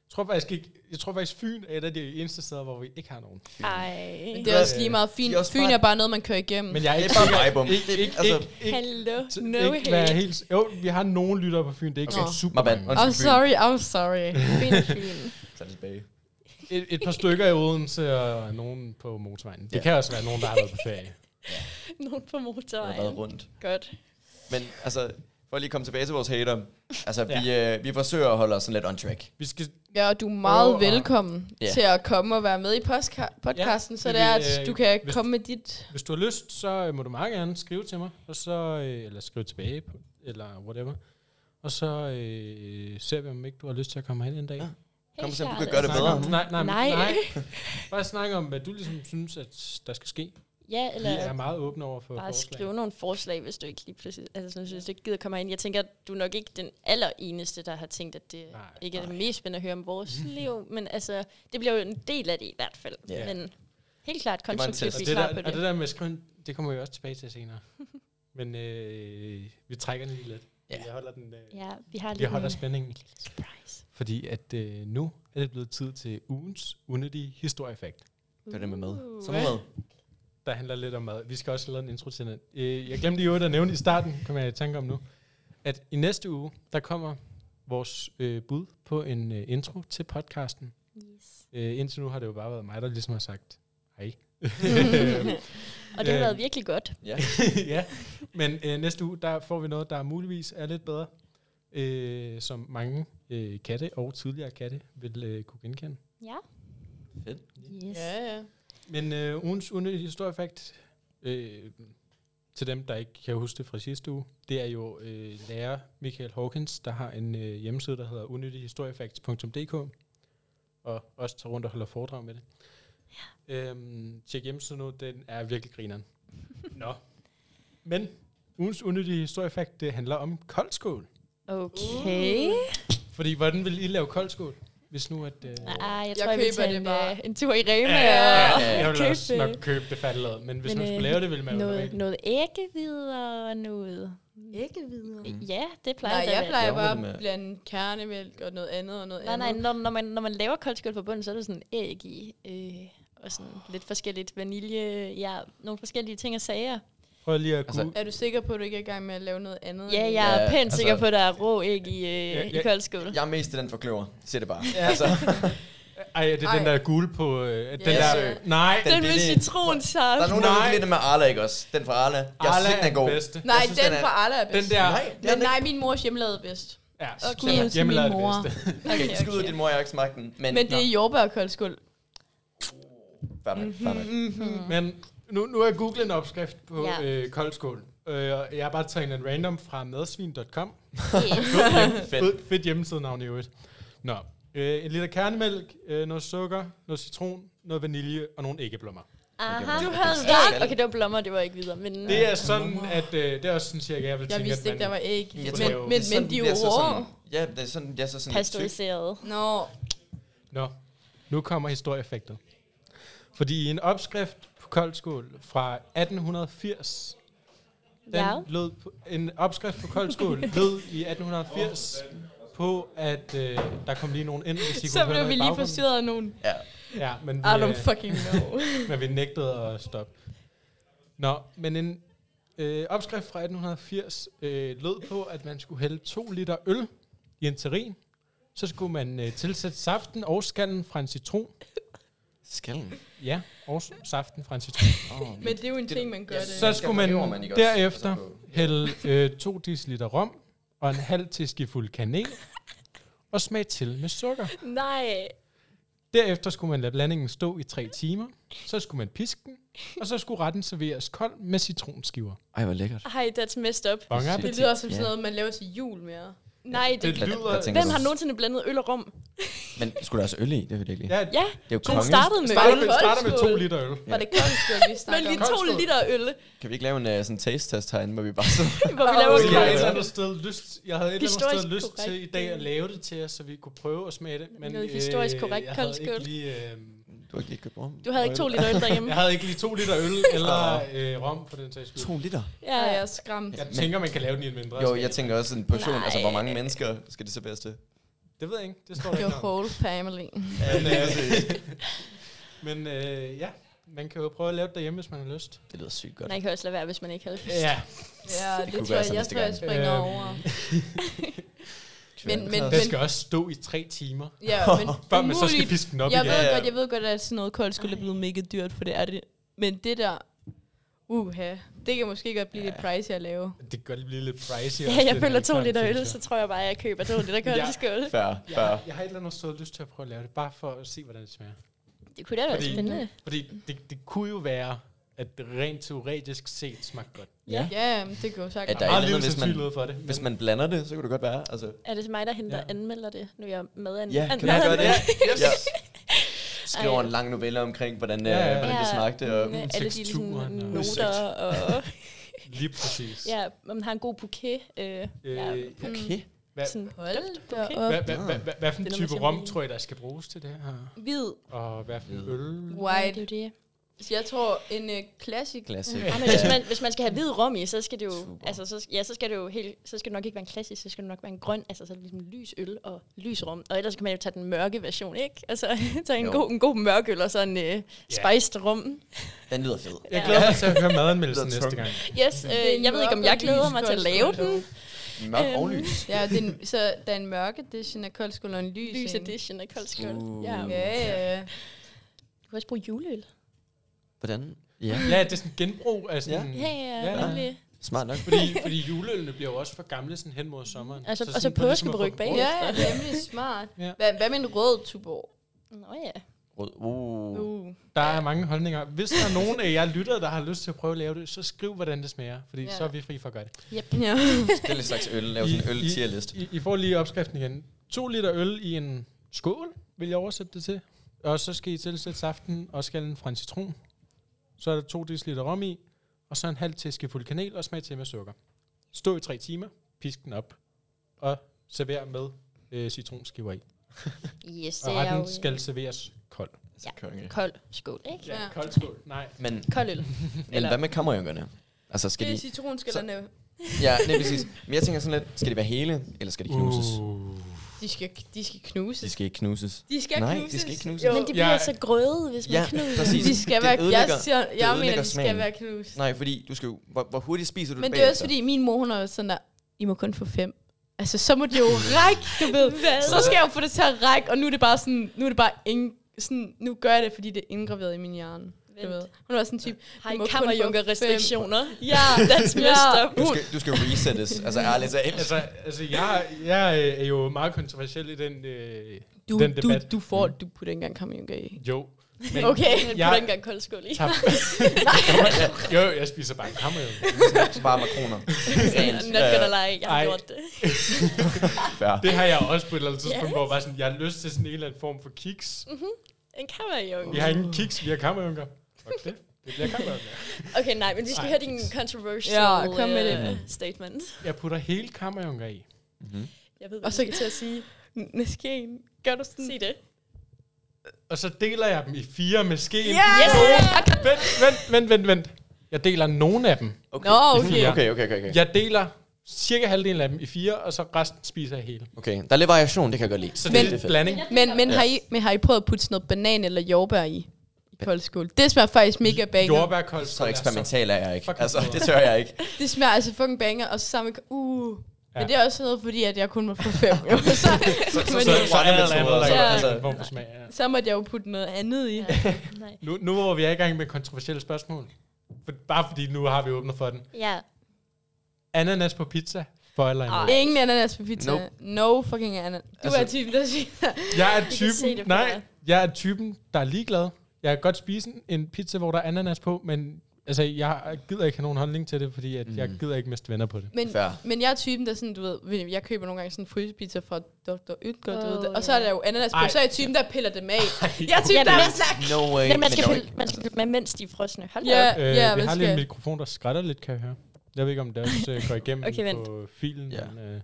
S1: jeg tror faktisk ikke, jeg tror faktisk Fyn er et af de eneste steder, hvor vi ikke har nogen.
S3: Ej.
S4: Det er også lige meget
S2: De er
S4: fint.
S2: også
S4: Fyn
S2: bare-
S4: er bare noget, man kører igennem.
S1: Men jeg er
S2: Det
S1: ikke
S2: er bare
S1: sikker-
S2: vejbom.
S1: Ikke,
S2: Det-
S1: ikke,
S2: altså-
S1: ikke, ikke,
S3: Hallo,
S1: t-
S3: Hmm. no
S1: ikke
S3: hate.
S1: være helt, s- jo, vi har nogen lyttere på Fyn, det er ikke
S4: Okay.
S1: okay. super
S2: My bad.
S1: mange.
S2: Undskyld.
S4: I'm sorry, I'm sorry.
S3: Fyn, Fyn.
S2: Tag det tilbage.
S1: Et, et par stykker i Odense og nogen på motorvejen. Det
S2: Ja.
S1: kan også være nogen, der har været på ferie.
S3: Nogen på
S2: Det har været
S3: motorvejen.
S2: rundt.
S3: Godt.
S2: Men altså, for at lige komme tilbage til vores hater. Altså,
S1: Ja.
S2: vi, øh, vi forsøger at holde os sådan lidt on track.
S1: Vi skal,
S4: Ja, og du er meget
S1: Åh,
S4: oh,
S1: ja.
S4: velkommen
S2: Ja.
S4: til at komme og være med i postka- podcasten, ja, så
S1: men
S4: det er,
S1: vi, øh,
S4: at du kan
S1: hvis-
S4: komme med dit...
S1: hvis du har lyst, så øh, må du meget gerne skrive til mig, og så, øh, eller skrive tilbage, på, eller whatever. Og så øh, ser vi, om ikke du har lyst til at komme hen en dag.
S2: Ja.
S3: Helt
S2: Kom og se, om du
S3: klart,
S2: kan gøre det
S3: altså.
S1: Snakke
S2: bedre.
S1: om- Nej, nej, nej.
S3: Nej.
S1: nej. Bare snakke om, hvad du ligesom synes, at der skal ske.
S3: Ja,
S1: Vi
S3: eller
S1: er meget åbne over for
S3: bare
S1: forslag.
S3: skrive nogle forslag, hvis du ikke lige pludselig, altså sådan, synes, du ikke gider komme ind. Jeg tænker, at du er nok ikke den aller eneste, der har tænkt, at det
S1: Nej,
S3: nej, ikke er det mest spændende at høre om vores liv, men altså, det bliver jo en del af det i hvert fald.
S2: Ja.
S3: Men helt klart
S2: var en
S3: konstruktivt,
S2: test.
S1: Og
S3: vi er
S1: det,
S3: klar
S1: der,
S3: på
S1: og det
S3: det.
S1: der med at skrive, det kommer vi også tilbage til senere. Men øh, vi trækker den lige lidt.
S2: Ja.
S1: Jeg holder den, øh,
S3: Ja, vi har lige
S1: jeg holder
S3: en
S1: spændingen.
S3: surprise.
S1: Fordi at øh, nu er det blevet tid til ugens unødige historiefakt,
S2: Det var det med mad. Så
S3: Uh,
S2: mad.
S1: der handler lidt om mad. Vi skal også have lavet en intro til den. Øh, jeg glemte jo at nævne i starten, kommer jeg i tanke om nu, at i næste uge, der kommer vores øh, bud på en øh, intro til podcasten.
S3: yes.
S1: Øh, indtil nu har det jo bare været mig, der ligesom har sagt hej.
S3: Og det har
S1: Øh,
S3: været virkelig godt.
S2: Ja.
S1: ja, men øh, næste uge, der får vi noget, der muligvis er lidt bedre, øh, som mange øh, katte og tidligere katte vil øh, kunne genkende.
S3: Ja.
S2: Fedt.
S3: Yes.
S4: Ja, ja.
S1: Men øh, ugens unødige historiefakt, øh, til dem, der ikke kan huske det fra sidste uge, det er jo øh, lærer Michael Hawkins, der har en øh, hjemmeside, der hedder unødighistoriefacts.dk, og også tager rundt og holder foredrag med det. Ja. Øhm, tjek hjemmesiden ud, den er virkelig grineren. Nå. Men ugens unødige historiefakt, det handler om koldskål.
S3: Okay.
S4: Uh.
S1: Fordi hvordan vil I lave koldskål, hvis nu at... Øh,
S3: Ah, jeg
S4: Jeg
S3: tror, jeg, jeg vil
S4: køber
S3: tage
S4: det
S3: en,
S4: bare.
S3: øh, en tur i Rema.
S1: Ja,
S3: og
S1: ja, jeg vil
S3: købe,
S1: også
S3: øh,
S1: nok købe det færdiglavet, men hvis
S3: Men,
S1: man skulle
S3: øh,
S1: lave det, ville man jo lave
S3: noget,
S1: det.
S3: noget æggehvide og noget...
S4: Æggehvider.
S2: Mm.
S3: Ja, det plejer
S4: Nej,
S3: der
S4: jeg
S3: at være.
S4: plejer
S2: Laver
S4: bare
S2: det med-
S4: at blande kernemælk og noget andet og noget
S3: Nej, nej,
S4: andet.
S3: når, når, man, når man laver koldskål på bunden, så er der sådan æg i, øh, og sådan lidt forskelligt vanilje, ja, nogle forskellige ting og sager.
S1: Prøv lige at
S2: Altså,
S1: google.
S4: Er du sikker på, at du ikke er i gang med at lave noget andet?
S3: Ja,
S4: end-
S3: jeg er
S2: Ja,
S3: pænt
S2: altså-
S3: sikker på, at der er rå æg i, øh,
S1: Ja,
S3: ja,
S1: ja.
S3: i koldskål.
S2: Jeg er mest til den for kløver. Se det bare.
S1: Ja.
S2: Altså,
S1: Ej, er det Ej. den
S4: Ej.
S1: der gule på... Øh, den
S4: Ja.
S1: der, nej,
S2: altså, Den
S3: Den med
S2: billige-
S3: citronsaft.
S2: der er nogen, der
S1: Nej.
S2: vil lidt med Arla, ikke også? Den fra Arla. Jeg
S1: Arla
S2: synes, den er god.
S1: bedste.
S4: Nej,
S2: Jeg synes,
S4: den,
S2: den er-
S4: fra Arla er
S1: Den
S4: bedst.
S1: der...
S2: Nej, den
S4: Men
S2: er
S4: nej, min mors hjemmelavede er bedst.
S1: Ja,
S4: Okay.
S1: skud ud til hjemmelavet
S4: min
S1: det
S4: mor.
S1: bedste.
S2: okay. Skud ud, din mor, jeg har ikke smagt den. Men,
S4: Men det er jordbærkoldskål.
S2: Fair nok, fair nok.
S1: Mm.
S4: Mm.
S1: Men nu, nu er jeg googlet en opskrift på
S3: Ja.
S1: øh, koldskål. Øh, og jeg har bare taget en random fra madsvin.com.
S3: Yeah.
S2: Fedt.
S1: Fedt, fedt hjemmesidenavn i øvrigt. Nå, Øh, en liter kernemælk, øh, noget sukker, noget citron, noget vanilje og nogle æggeblommer.
S3: Aha.
S2: man-
S3: Du
S2: man
S3: havde
S2: kan
S3: ret.
S2: skalde.
S3: Okay, det var blommer, det var ikke videre. Men
S1: Det er sådan, at øh, det er også sådan cirka, jeg vil
S4: Jeg
S1: tænke,
S4: vidste
S1: at
S4: ikke, der var æg.
S2: Jeg
S4: Men,
S1: tror jo,
S2: Det
S4: men, men,
S2: er sådan,
S4: de er
S2: bliver
S4: jo
S2: så sådan,
S4: rå.
S2: Ja, det er sådan, det er så sådan lidt tykt.
S3: pasteuriseret.
S4: Nå,
S1: Nå, nu kommer historieeffektet. Fordi i en opskrift på koldskål fra 1880, den
S3: Ja.
S1: lød på, en opskrift på koldskål lød i 1880 på, at øh, der kom lige nogen ind, hvis I
S4: så
S1: kunne høre
S4: blev
S1: noget
S4: vi
S1: i
S4: lige
S1: baggrunden.
S4: forstyrret af nogen.
S2: Ja.
S1: Ja, men
S4: I
S1: vi,
S4: don't
S1: øh,
S4: fucking know.
S1: men vi nægtede at stoppe. Nå, men en øh, opskrift fra 1880 øh, lød på, at man skulle hælde to liter øl i en terrin. Så skulle man øh, tilsætte saften og skallen fra en citron.
S2: Skallen.
S1: Ja, og s- saften fra en citron.
S2: Oh,
S4: men det er jo en
S2: Det-
S4: ting, man gør
S2: Ja,
S4: det.
S1: Så skulle man,
S2: behøver man ikke også,
S1: derefter
S2: altså på-
S1: hælde øh, to deciliter rom og en halv teskefuld kanel og smage til med sukker.
S3: Nej.
S1: Derefter skulle man lade blandingen stå i tre timer, så skulle man piske den, og så skulle retten serveres kold med citronskiver.
S2: Ej, hvor lækkert.
S3: Ej, that's messed up.
S1: Bon
S2: Det
S4: Det
S1: appetit.
S4: lyder som
S2: Ja.
S4: sådan noget, man laver til jul mere.
S3: Nej, det,
S1: Det lyder-
S2: tænker
S3: Hvem
S2: du?
S3: har nogensinde blandet øl og rum?
S2: Men skulle der også øl i? Det er jo ikke.
S1: Ja,
S3: Ja,
S2: Det er jo
S3: den
S2: kongen.
S3: startede med
S1: starter
S3: øl.
S1: med, starter med to
S4: Koldskål.
S1: liter øl.
S4: Var det koldskål, vi
S3: Men
S4: snakkede
S3: lige
S4: om?
S3: to
S1: Koldskål.
S3: liter øl,
S2: Kan vi ikke lave en uh, sådan taste test herinde, hvor vi bare så...
S3: hvor vi laver
S1: Så jeg,
S2: Okay.
S1: har et
S3: koldskål.
S1: eller andet sted lyst, jeg havde et eller andet sted
S3: Historisk
S1: lyst
S3: korrekt.
S1: til i dag at lave det til os, så vi kunne prøve at smage det. Men, øh,
S3: Noget historisk korrekt
S1: jeg havde ikke
S3: koldskål.
S1: lige, øh,
S2: Du har ikke lige købt rum.
S3: Du havde ikke to liter øl derhjemme.
S1: jeg havde ikke lige to liter øl eller øh, rom for den sags skyld.
S2: To liter?
S3: Ja,
S4: Ja, jeg
S3: ja.
S4: er skræmt.
S1: Jeg
S2: Men-
S1: tænker, man kan lave den i en mindre.
S2: Jo,
S1: skala.
S2: jeg tænker også en portion.
S3: Nej.
S2: Altså, hvor mange mennesker skal det serveres til?
S1: Det ved jeg ikke. Det står der
S4: Your
S1: ikke noget. om.
S4: whole family.
S2: Ja,
S1: Men,
S2: lige
S1: øh,
S2: præcis.
S1: Men øh, ja, man kan jo prøve at lave det derhjemme, hvis man har lyst.
S2: det lyder sygt godt.
S3: Man kan også lade være, hvis man ikke havde lyst.
S1: Ja.
S4: Ja, det,
S2: kunne
S4: tror
S2: være
S4: jeg,
S2: sådan
S4: jeg,
S2: næste
S4: tror, jeg
S2: gang.
S4: springer
S1: Øhm.
S4: over. Men- men-
S1: Det skal også stå i tre timer,
S4: Ja, men
S1: før man så skal
S4: umuligt.
S1: piske den op
S4: jeg
S1: igen.
S4: ved
S2: Ja, ja.
S4: godt, jeg ved godt, at sådan noget koldt skulle blive mega dyrt, for det er det. Men det der, uha, det kan måske godt blive
S2: Ja.
S4: lidt pricey at lave.
S1: Det kan godt blive lidt pricey.
S3: Ja,
S1: også,
S3: jeg
S1: den
S3: føler
S1: her
S3: to
S1: kamp,
S3: liter
S1: synes
S3: øl,
S1: jeg.
S3: så tror jeg bare, at jeg køber to liter koldskål.
S2: Før,
S1: Jeg,
S2: før.
S1: har- jeg har et eller andet stået lyst til at prøve at lave det, bare for at se, hvordan det smager.
S3: Det kunne da være
S1: Fordi-
S3: spændende.
S1: Fordi det, det kunne jo være, at det rent teoretisk set smagte godt.
S2: Ja.
S4: Ja, men det kan jo
S2: Ja,
S4: sagt.
S2: der
S1: Meget
S2: er et eller andet,
S1: lille
S2: hvis man-
S1: sandsynlighed for det.
S2: Hvis
S1: men-
S2: man blander det, så kunne det godt være. Altså,
S3: Er det mig, der henter
S1: Ja.
S3: ja. anmelder det? Nu er jeg med an-
S2: ja, kan du
S1: Nå,
S2: gøre det?
S1: ja,
S2: Ja. Skriver
S3: Ej.
S2: en lang novelle omkring, hvordan,
S1: Ja,
S2: ja,
S1: ja.
S2: hvordan det smagte. Og,
S3: mm, alle de ligesom,
S1: teksturen og-
S3: noter og...
S1: Lige præcis.
S3: ja, om man har en god bouquet. Øh, ja,
S1: Øh,
S2: okay.
S1: Hvad-
S3: sådan,
S4: Hold da
S3: Okay.
S1: Hvad,
S4: op.
S1: hvad, hvad, hvad, hvad for en
S3: Det er noget
S1: type
S3: med
S1: rom,
S3: champagne.
S1: tror I, der skal bruges til det her?
S4: Hvid,
S1: Og hvad for en
S2: Hvid.
S1: øl?
S3: ja, det
S4: white.
S3: er jo det.
S4: Så jeg tror, en øh, classic.
S2: Klassik.
S3: Ja, men hvis, man, hvis man skal have hvid rom i, så skal det jo,
S2: Super.
S3: altså, så, ja, så skal det jo helt, så skal det nok ikke være en klassisk, så skal det nok være en grøn, altså så er det ligesom lys øl og lys rom. Og ellers kan man jo tage den mørke version, ikke? Altså tage en,
S2: Jo.
S3: god, en god mørk øl og så en øh, spiced rom.
S2: Den lyder fed.
S1: Jeg glæder mig til at høre madanmeldelsen
S2: Det er
S1: næste
S2: tungt.
S1: gang.
S3: Yes, øh, jeg ved ikke, om
S4: mørk
S3: jeg
S4: og
S3: glæder
S4: lys
S3: mig til at lave
S4: koldskål.
S3: den.
S2: Mørk
S3: Øhm,
S2: og lys.
S4: Ja, det er en, så der er en mørk edition af koldskål og en lys.
S3: Lys
S4: en.
S3: edition af koldskål.
S2: Uh.
S3: Ja.
S4: Ja, ja, ja.
S3: Du kan også bruge juleøl.
S2: Hvordan? Ja,
S1: Ja, det er sådan genbrug af sådan...
S3: Ja, ja,
S1: Ja.
S3: ja. nemlig.
S2: smart nok.
S1: Fordi, fordi juleølene bliver jo også for gamle sådan hen mod sommeren.
S3: Altså- og
S1: sådan
S3: så
S1: for ligesom at få
S3: påskebryg
S1: dem
S3: bag.
S1: brugt.
S4: Ja, det er nemlig smart.
S1: Ja.
S4: Hvad, hvad med en rød tubor?
S3: Nå ja.
S2: Rød. Uh.
S4: Uh.
S1: Der er mange holdninger. Hvis der er nogen af jer lyttere, der har lyst til at prøve at lave det, så skriv, hvordan det smager. Fordi
S4: Ja.
S1: så er vi fri for at gøre det.
S4: Ja.
S2: Forskellige slags øl. Lav sådan en øl tier list.
S1: I, I får lige opskriften igen. 2 liter øl i en skål, vil jeg oversætte det til. Og så skal I tilsætte saften og skallen fra en citron. Så er der 2 dl rom i, og så en halv teskefuld kanel og smag til med sukker. Stå i 3 timer, pisk den op, og server med øh, citronskiver i.
S3: Yes,
S1: Og
S3: det er jo øh,
S1: retten skal serveres kold.
S2: Altså, konge.
S3: kold skål, ikke?
S4: Ja, Ja.
S1: kold skål. Nej.
S2: Men,
S3: Kold øl.
S2: men hvad med kammerjunkerne? Altså, skal
S4: Det
S2: de...
S4: er citronskallerne.
S2: Ja, nej, præcis. Men jeg tænker sådan lidt, skal de være hele, eller skal de knuses?
S1: Uh.
S4: De skal, de skal
S2: De
S4: knuses.
S2: skal ikke knuses.
S4: De skal
S2: Nej,
S4: knuses.
S2: de skal ikke knuses.
S4: Jo.
S3: Men det bliver
S1: Ja.
S3: så grøde, hvis man
S2: Ja,
S3: knuder.
S2: præcis.
S4: De skal
S2: Det
S4: være, jeg,
S2: ødelægger-
S4: siger,
S2: det
S4: jeg mener,
S2: ødelægger
S4: de
S2: smagen.
S4: skal være knust.
S2: Nej, fordi du skal jo... Hvor, hvor hurtigt spiser du
S4: Men
S2: det
S4: det er også
S2: bagefter?
S4: fordi, min mor, hun er sådan der, I må kun få fem. Altså, så må det jo række, du ved. Så skal jeg jo få det til at række, og nu er det bare sådan, nu er det bare ingen, sådan, nu gør jeg det, fordi det er indgraveret i min hjerne. Du
S3: Vent.
S4: ved. Hun var sådan en type,
S3: Har
S4: "Du
S3: I
S4: må kun få
S3: kammerjunker-restriktioner?
S4: Ja,
S3: That's messed up.
S2: Du skal, du skal jo resettes. altså, ærligt talt.
S1: Altså, altså jeg, jeg øh, er jo meget kontroversiel i den, øh,
S4: Du,
S1: den
S4: du,
S1: debat.
S4: du får, du putter ikke engang kammerjunker i.
S1: Jo, Men-
S4: Okay.
S3: Men
S1: Jeg-
S3: putter ikke engang kold skål i.
S1: Tak. jo, jo, jeg spiser bare en kammer, jo.
S2: Bare makroner.
S3: I'm not gonna lie, jeg har
S1: Ej.
S3: gjort det.
S2: Fair.
S1: Det har jeg også på et eller andet tidspunkt,
S3: Ja.
S1: hvor jeg bare sådan, jeg har lyst til sådan en eller anden form for kiks.
S3: En kammerjunge.
S1: Vi har ingen kiks, vi har kammerjunker. Fuck det. Det bliver kammerjunker.
S3: Okay, nej, men vi skal
S1: Ej.
S3: høre din controversial
S4: Ja, kom med
S3: øh,
S2: det.
S3: statement.
S1: Jeg putter hele kammerjunker i.
S2: Mm-hmm.
S3: Jeg ved, hvad
S4: Og
S3: du
S4: så-
S3: skal til at sige.
S4: Næskeen. Gør du sådan?
S3: Sig det.
S1: Og så deler jeg dem i fire med skeen.
S4: Ja! Yes!
S1: Vent, vent, vent, vent, vent. Jeg deler nogle af dem.
S2: Okay.
S4: Nå,
S1: Ja.
S4: okay.
S2: okay, okay, okay, okay.
S1: Jeg deler cirka halvdelen af dem i fire, og så resten spiser jeg hele.
S2: Okay, der er lidt variation, det kan jeg godt lide.
S1: Så
S4: Men-
S1: det er en blanding.
S4: Men, men,
S2: Ja.
S4: har I, men har I prøvet at putte sådan noget banan eller jordbær i? I koldskål. Det smager faktisk mega banger.
S1: Jordbærkold.
S2: Så eksperimental er jeg ikke.
S1: Fucking
S2: Altså,
S1: bedre.
S2: det tør jeg ikke.
S4: Det smager altså fucking banger, og så sammen med... Uh. Ja.
S1: Ja.
S4: Men det er også noget, fordi at jeg kun må få fem. jo. så,
S2: Så, så,
S4: Men-
S2: så,
S1: Så
S2: så er det
S1: eller andet,
S2: metoder.
S1: der
S2: Så,
S1: er
S2: altså,
S1: en form for smag. Ja.
S4: så måtte jeg jo putte noget andet i.
S3: Nej.
S1: Nu, nu hvor vi er i gang med kontroversielle spørgsmål, for, bare fordi nu har vi åbnet for den.
S3: Ja.
S1: Ananas på pizza, for eller imod?
S3: Ej.
S4: Ingen ananas på pizza.
S2: Nope.
S4: No fucking ananas. Du
S2: Altså-
S4: er typen, der siger...
S1: Jeg er
S3: kan se det
S1: typen,
S3: på
S1: nej,
S3: dig.
S1: jeg er typen, der er ligeglad. Jeg kan godt spise en- en pizza, hvor der er ananas på, men altså, jeg gider ikke have nogen holdning til det, fordi at mm. jeg
S2: Mm.
S1: gider ikke miste venner på det.
S4: Men,
S2: Fair.
S4: men jeg er typen, der sådan, du ved, jeg køber nogle gange sådan en frysepizza fra Dr. Ytger, oh, du ved
S3: Åh,
S4: det. Og så
S3: ja.
S4: er der jo ananas på,
S1: Ej.
S4: så er jeg typen, der piller dem af. Jeg er typen,
S3: Jamen,
S4: der er
S3: men-
S4: sådan,
S2: No way.
S3: Men man
S2: Men altså,
S3: skal
S2: der er jo
S3: pille, man skal pille med, mens de er frosne. Hold da
S4: Ja,
S3: op.
S1: Øh,
S4: ja,
S1: vi
S4: man
S1: har lige en
S4: skal.
S1: mikrofon, der skrætter lidt, kan jeg høre. Jeg ved ikke, om det også øh, går igennem
S3: Okay, vent.
S1: på filen.
S2: Ja.
S1: Men, øh,